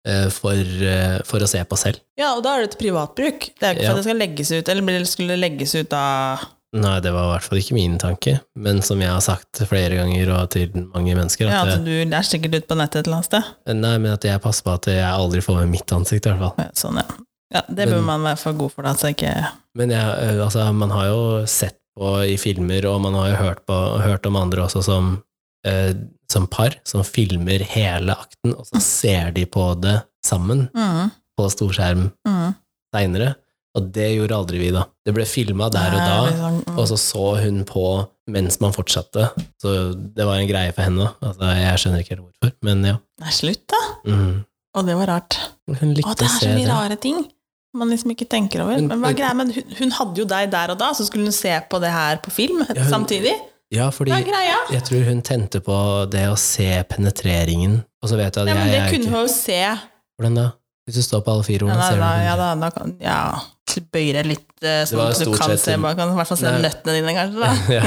[SPEAKER 1] eh, for, eh, for å se på selv.
[SPEAKER 2] Ja, og da er det til privatbruk. Det er ikke
[SPEAKER 1] Ja.
[SPEAKER 2] for at det skal legges ut, eller blir- skulle legges ut av
[SPEAKER 1] Nei, det var i hvert fall ikke min tanke, men som jeg har sagt flere ganger og til mange mennesker,
[SPEAKER 2] Ja, altså.
[SPEAKER 1] at,
[SPEAKER 2] at du det er sikkert ute på nettet et eller annet sted.
[SPEAKER 1] eh, nei, men at jeg passer på at jeg aldri får med mitt ansikt, i hvert fall.
[SPEAKER 2] Ja, Sånn, ja. ja det bør
[SPEAKER 1] Men-
[SPEAKER 2] man være for god for, da. Så ikke
[SPEAKER 1] Men jeg, eh, altså, man har jo sett på i filmer, og man har jo hørt, på, hørt om andre også som, eh, som par, som filmer hele akten, og så ser de på det sammen
[SPEAKER 2] Mm,
[SPEAKER 1] på storskjerm
[SPEAKER 2] mm.
[SPEAKER 1] seinere. Og det gjorde aldri vi, da. Det ble filma der og da.
[SPEAKER 2] Det er litt sånn, mm.
[SPEAKER 1] Og så så hun på mens man fortsatte. Så det var en greie for henne. da. Altså, jeg skjønner ikke helt hvorfor, men ja.
[SPEAKER 2] Det er slutt, da.
[SPEAKER 1] Mm.
[SPEAKER 2] Og det var rart.
[SPEAKER 1] Hun
[SPEAKER 2] Å,
[SPEAKER 1] likte å
[SPEAKER 2] det er
[SPEAKER 1] se
[SPEAKER 2] så mye
[SPEAKER 1] det.
[SPEAKER 2] rare ting man liksom ikke tenker over.
[SPEAKER 1] Men-
[SPEAKER 2] Men, hva er greia? Men hun, hun hadde jo deg der og da, så skulle hun se på det her på film
[SPEAKER 1] hun-
[SPEAKER 2] samtidig.
[SPEAKER 1] Ja, fordi
[SPEAKER 2] Hva er greia?
[SPEAKER 1] jeg tror hun tente på det å se penetreringen, og så vet du at
[SPEAKER 2] Ja, men
[SPEAKER 1] jeg,
[SPEAKER 2] det
[SPEAKER 1] jeg er jo
[SPEAKER 2] kunne
[SPEAKER 1] ikke
[SPEAKER 2] hun jo se.
[SPEAKER 1] Hvordan da? Hvis du står på alle fire
[SPEAKER 2] Ja,
[SPEAKER 1] ordene,
[SPEAKER 2] da,
[SPEAKER 1] ser du
[SPEAKER 2] da, ja,
[SPEAKER 1] det.
[SPEAKER 2] da, da kan Ja, så bøyer jeg litt, eh,
[SPEAKER 1] Det
[SPEAKER 2] sånn
[SPEAKER 1] var
[SPEAKER 2] at du
[SPEAKER 1] stort
[SPEAKER 2] kan
[SPEAKER 1] sett
[SPEAKER 2] se
[SPEAKER 1] til-
[SPEAKER 2] man kan i hvert fall se
[SPEAKER 1] Nei.
[SPEAKER 2] nøttene dine, kanskje. da.
[SPEAKER 1] ja,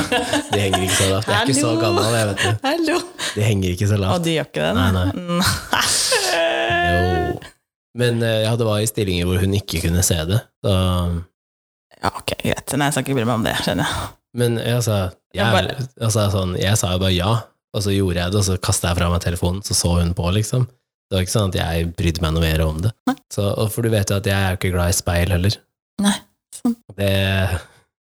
[SPEAKER 1] det henger ikke så lavt. Jeg er ikke så
[SPEAKER 2] Hallo!
[SPEAKER 1] gammel, jeg vet du.
[SPEAKER 2] Hallo!
[SPEAKER 1] Det henger ikke så
[SPEAKER 2] Og
[SPEAKER 1] lavt.
[SPEAKER 2] de gjør ikke det?
[SPEAKER 1] Nei, nei.
[SPEAKER 2] nei.
[SPEAKER 1] Jo. Men eh, ja, det var i stillinger hvor hun ikke kunne se det. Så,
[SPEAKER 2] Ja, ok, greit. Nei, jeg skal ikke bry meg om det, skjønner jeg.
[SPEAKER 1] men jeg sa, jeg,
[SPEAKER 2] Jeg bare-
[SPEAKER 1] jeg sa sånn, jeg sa jo bare ja, og så gjorde jeg det, og så kasta jeg fra meg telefonen, så så hun på, liksom. Det var ikke sånn at jeg brydde meg noe mer om det.
[SPEAKER 2] Nei.
[SPEAKER 1] Så, og for du vet jo at jeg er jo ikke glad i speil heller.
[SPEAKER 2] Nei, sånn. sant.
[SPEAKER 1] Det,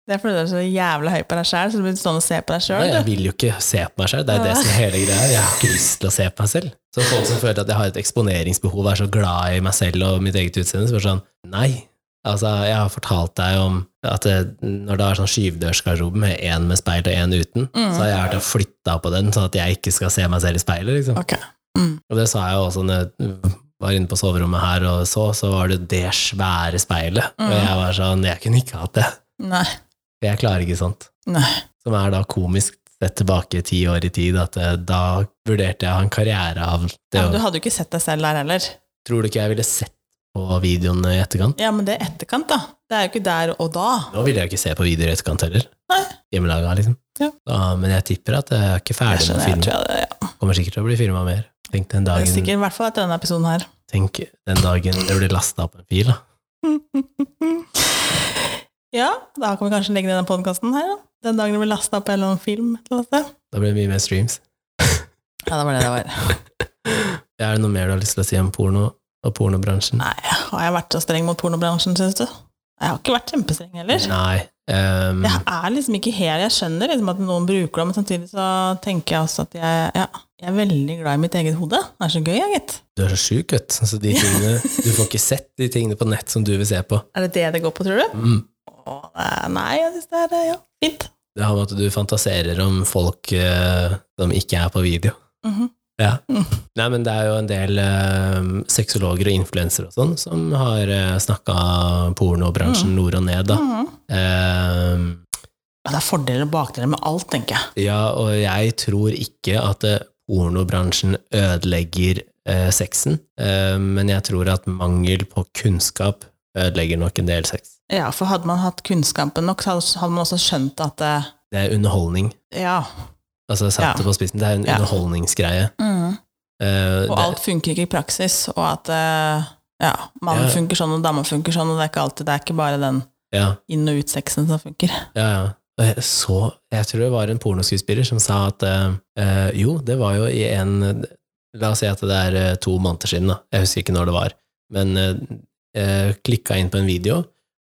[SPEAKER 2] Det er fordi du er så jævla høy på deg sjæl, så du blir stående og se på deg
[SPEAKER 1] nei,
[SPEAKER 2] sjøl.
[SPEAKER 1] jeg vil jo ikke se på meg selv, det er det som er hele greia. Jeg har ikke lyst til å se på meg selv. Så folk som føler at jeg har et eksponeringsbehov, er så glad i meg selv og mitt eget utseende, så bare sånn, nei. Altså, jeg har fortalt deg om at det, når det er sånn skyvdørsgarderobe med én med speil og én uten,
[SPEAKER 2] Mm.
[SPEAKER 1] så har jeg vært og flytta på den sånn at jeg ikke skal se meg selv i speilet, liksom.
[SPEAKER 2] Ok. Mm.
[SPEAKER 1] Og det sa jeg jo også når jeg var inne på soverommet her og så, så var det det svære speilet.
[SPEAKER 2] Mm.
[SPEAKER 1] Og jeg var sånn, jeg kunne ikke hatt det.
[SPEAKER 2] Nei.
[SPEAKER 1] Jeg klarer ikke sånt.
[SPEAKER 2] Nei.
[SPEAKER 1] Som er da komisk sett tilbake ti år i tid, at eh, da vurderte jeg å ha en karriere av det.
[SPEAKER 2] Ja, men du
[SPEAKER 1] Og
[SPEAKER 2] hadde jo ikke sett deg selv der heller.
[SPEAKER 1] tror du ikke jeg ville sett på videoene i etterkant?
[SPEAKER 2] Ja, men det er etterkant, da. Det er jo ikke der og da.
[SPEAKER 1] Nå ville jeg jo ikke se på videoer i etterkant heller.
[SPEAKER 2] Nei.
[SPEAKER 1] Hjemmelaga, liksom.
[SPEAKER 2] Ja.
[SPEAKER 1] Da- men jeg tipper at jeg er ikke
[SPEAKER 2] Jeg
[SPEAKER 1] ferdig med å
[SPEAKER 2] skjønner, jeg
[SPEAKER 1] filme.
[SPEAKER 2] tror jeg det, ja.
[SPEAKER 1] Kommer sikkert til å bli filma mer. Tenk den
[SPEAKER 2] Det er
[SPEAKER 1] dagen,
[SPEAKER 2] Sikkert, I hvert fall etter denne episoden her.
[SPEAKER 1] tenk den dagen det blir lasta opp en fil, da.
[SPEAKER 2] Mm. Ja, da kan vi kanskje legge ned den podkasten her, da. Den dagen det blir lasta opp en eller annen film. et eller annet sted.
[SPEAKER 1] Da blir det mye mer streams.
[SPEAKER 2] Ja, det var det det var.
[SPEAKER 1] Er det noe mer du har lyst til å si om porno og pornobransjen?
[SPEAKER 2] Nei, har jeg vært så streng mot pornobransjen, syns du? Jeg har ikke vært kjempestreng heller.
[SPEAKER 1] Nei. ehm,
[SPEAKER 2] Jeg er liksom ikke helt Jeg skjønner liksom at noen bruker det, men samtidig så tenker jeg også at jeg, ja, jeg er veldig glad i mitt eget hode. Det er så gøy, jeg, gitt.
[SPEAKER 1] Du er så sjuk, vet du. Så de tingene, du får ikke sett de tingene på nett som du vil se på.
[SPEAKER 2] Er det det det går på, tror du?
[SPEAKER 1] Mm.
[SPEAKER 2] Åh, nei, jeg syns det er eh, ja, fint.
[SPEAKER 1] Det har med at du fantaserer om folk eh, som ikke er på video.
[SPEAKER 2] Mhm.
[SPEAKER 1] Ja.
[SPEAKER 2] Mm.
[SPEAKER 1] Nei, men det er jo en del eh, sexologer og influensere og sånn som har eh, snakka pornobransjen nord og ned, da.
[SPEAKER 2] Mhm.
[SPEAKER 1] Eh,
[SPEAKER 2] Ja, det er fordeler og bakdeler med alt, tenker jeg.
[SPEAKER 1] Ja, og jeg tror ikke at eh, pornobransjen ødelegger eh, sexen, eh, men jeg tror at mangel på kunnskap ødelegger nok en del sex.
[SPEAKER 2] Ja, for hadde man hatt kunnskapen nok, så hadde hadde man også skjønt at eh,
[SPEAKER 1] Det er underholdning.
[SPEAKER 2] ja.
[SPEAKER 1] Altså satt
[SPEAKER 2] Ja.
[SPEAKER 1] det på spissen, det er en
[SPEAKER 2] Ja.
[SPEAKER 1] underholdningsgreie.
[SPEAKER 2] Mm.
[SPEAKER 1] Eh,
[SPEAKER 2] Og
[SPEAKER 1] det-
[SPEAKER 2] alt funker ikke i praksis, og at eh, ja, mann
[SPEAKER 1] Ja.
[SPEAKER 2] funker sånn, og dame funker sånn, og det er ikke alltid, det er ikke bare den
[SPEAKER 1] ja,
[SPEAKER 2] inn- og utsexen som funker.
[SPEAKER 1] ja, ja. Og jeg Så, jeg tror det var en pornoskuespiller som sa at eh, eh, jo, det var jo i en La oss si at det er eh, to måneder siden, da. Jeg husker ikke når det var. Men eh, eh, klikka inn på en video.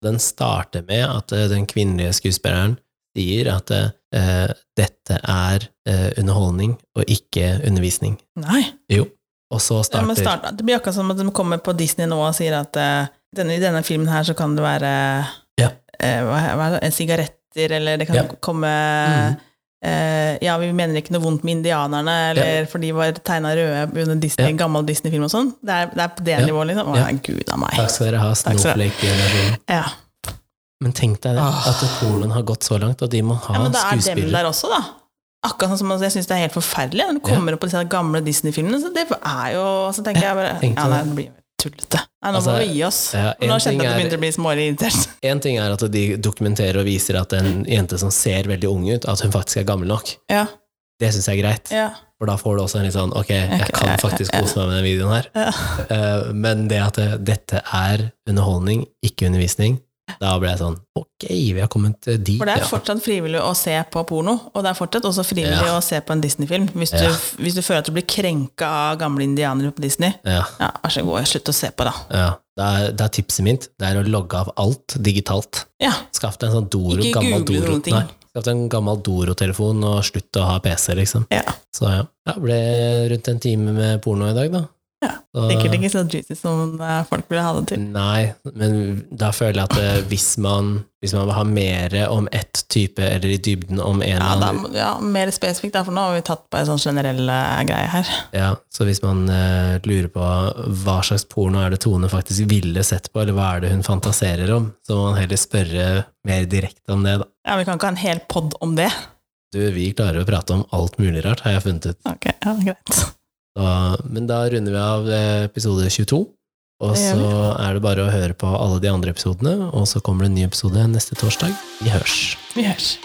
[SPEAKER 1] Den starter med at eh, den kvinnelige skuespilleren sier at eh, dette er eh, underholdning og ikke undervisning.
[SPEAKER 2] Nei.
[SPEAKER 1] Jo. Og så
[SPEAKER 2] Ja, men
[SPEAKER 1] starter
[SPEAKER 2] start, det blir akkurat som at de kommer på Disney nå og sier at eh, denne, i denne filmen her så kan det være
[SPEAKER 1] Ja.
[SPEAKER 2] eh, hva, hva er det, sigaretter, eller det kan
[SPEAKER 1] Ja.
[SPEAKER 2] komme
[SPEAKER 1] Mhm.
[SPEAKER 2] eh, Ja, vi mener ikke noe vondt med indianerne, eller for de var tegna røde under Disney,
[SPEAKER 1] Ja.
[SPEAKER 2] gammel Disney-film og sånn. Det er, det er på det
[SPEAKER 1] Ja.
[SPEAKER 2] nivået, liksom. Å,
[SPEAKER 1] Ja.
[SPEAKER 2] nei, gud a meg.
[SPEAKER 1] Takk skal dere ha,
[SPEAKER 2] Takk skal dere
[SPEAKER 1] Snowflake-generasjonen.
[SPEAKER 2] Ja.
[SPEAKER 1] Men tenk deg det,
[SPEAKER 2] Åh.
[SPEAKER 1] at pornoen har gått så langt, og de må ha
[SPEAKER 2] Ah. ja, men da er dem
[SPEAKER 1] skuespillere.
[SPEAKER 2] der også, da. Akkurat sånn som altså, jeg syns det er helt forferdelig når du
[SPEAKER 1] Ja.
[SPEAKER 2] kommer opp på disse gamle Disney-filmene. Så det er jo Så tenker jeg bare
[SPEAKER 1] tenk
[SPEAKER 2] Ja,
[SPEAKER 1] deg
[SPEAKER 2] nei,
[SPEAKER 1] det.
[SPEAKER 2] det blir jo tullete. Nei, nå
[SPEAKER 1] Altså,
[SPEAKER 2] må vi gi oss.
[SPEAKER 1] ja, en
[SPEAKER 2] nå kjente jeg
[SPEAKER 1] ting
[SPEAKER 2] at det
[SPEAKER 1] er-
[SPEAKER 2] begynte å bli smålig irritert.
[SPEAKER 1] En ting er at de dokumenterer og viser at en jente som ser veldig ung ut, at hun faktisk er gammel nok.
[SPEAKER 2] Ja,
[SPEAKER 1] Det syns jeg er greit,
[SPEAKER 2] ja,
[SPEAKER 1] for da får du også en litt sånn ok, jeg
[SPEAKER 2] Ok,
[SPEAKER 1] kan
[SPEAKER 2] ja,
[SPEAKER 1] faktisk
[SPEAKER 2] ja, ja.
[SPEAKER 1] kose meg med den videoen her.
[SPEAKER 2] ja.
[SPEAKER 1] Eh, Men det at det- dette er underholdning, ikke undervisning, da ble jeg sånn ok, vi har kommet eh, dit,
[SPEAKER 2] For det er
[SPEAKER 1] ja.
[SPEAKER 2] fortsatt frivillig å se på porno, og det er fortsatt også frivillig
[SPEAKER 1] Ja.
[SPEAKER 2] å se på en Disney-film. Hvis, du-
[SPEAKER 1] Ja.
[SPEAKER 2] hvis du føler at du blir krenka av gamle indianere på Disney,
[SPEAKER 1] Ja,
[SPEAKER 2] ja, vær så god, slutt å se på, da.
[SPEAKER 1] ja. Da er, da er tipset mitt det er å logge av alt digitalt.
[SPEAKER 2] Ja.
[SPEAKER 1] Skaff deg en sånn Doro,
[SPEAKER 2] Ikke
[SPEAKER 1] gammel
[SPEAKER 2] google
[SPEAKER 1] Doro.
[SPEAKER 2] noen ting.
[SPEAKER 1] Nei, Skaff deg en gammel Doro-telefon og slutt å ha PC, liksom.
[SPEAKER 2] Ja.
[SPEAKER 1] Så ja. Det ble rundt en time med porno i dag, da.
[SPEAKER 2] Ja,
[SPEAKER 1] Så-
[SPEAKER 2] Sikkert ikke så juicy som eh, folk ville ha det til.
[SPEAKER 1] Nei, men da føler jeg at eh, hvis man, hvis man vil ha mer om ett type, eller i dybden om en
[SPEAKER 2] Ja,
[SPEAKER 1] eller
[SPEAKER 2] da,
[SPEAKER 1] annen
[SPEAKER 2] må- ja, Mer spesifikt, da, for nå har vi tatt på en sånn generell eh, greie her.
[SPEAKER 1] Ja, så hvis man eh, lurer på hva slags porno er det Tone faktisk ville sett på, eller hva er det hun fantaserer om, så må man heller spørre mer direkte om det, da.
[SPEAKER 2] Ja, Vi kan ikke ha en hel pod om det.
[SPEAKER 1] Du, vi klarer å prate om alt mulig rart, har jeg funnet ut.
[SPEAKER 2] Ok, ja, greit.
[SPEAKER 1] Da, men da runder vi av eh, episode 22, og
[SPEAKER 2] Det gjør
[SPEAKER 1] så er det bare å høre på alle de andre episodene, og så kommer det en ny episode neste torsdag. Vi hørs.
[SPEAKER 2] Vi høres.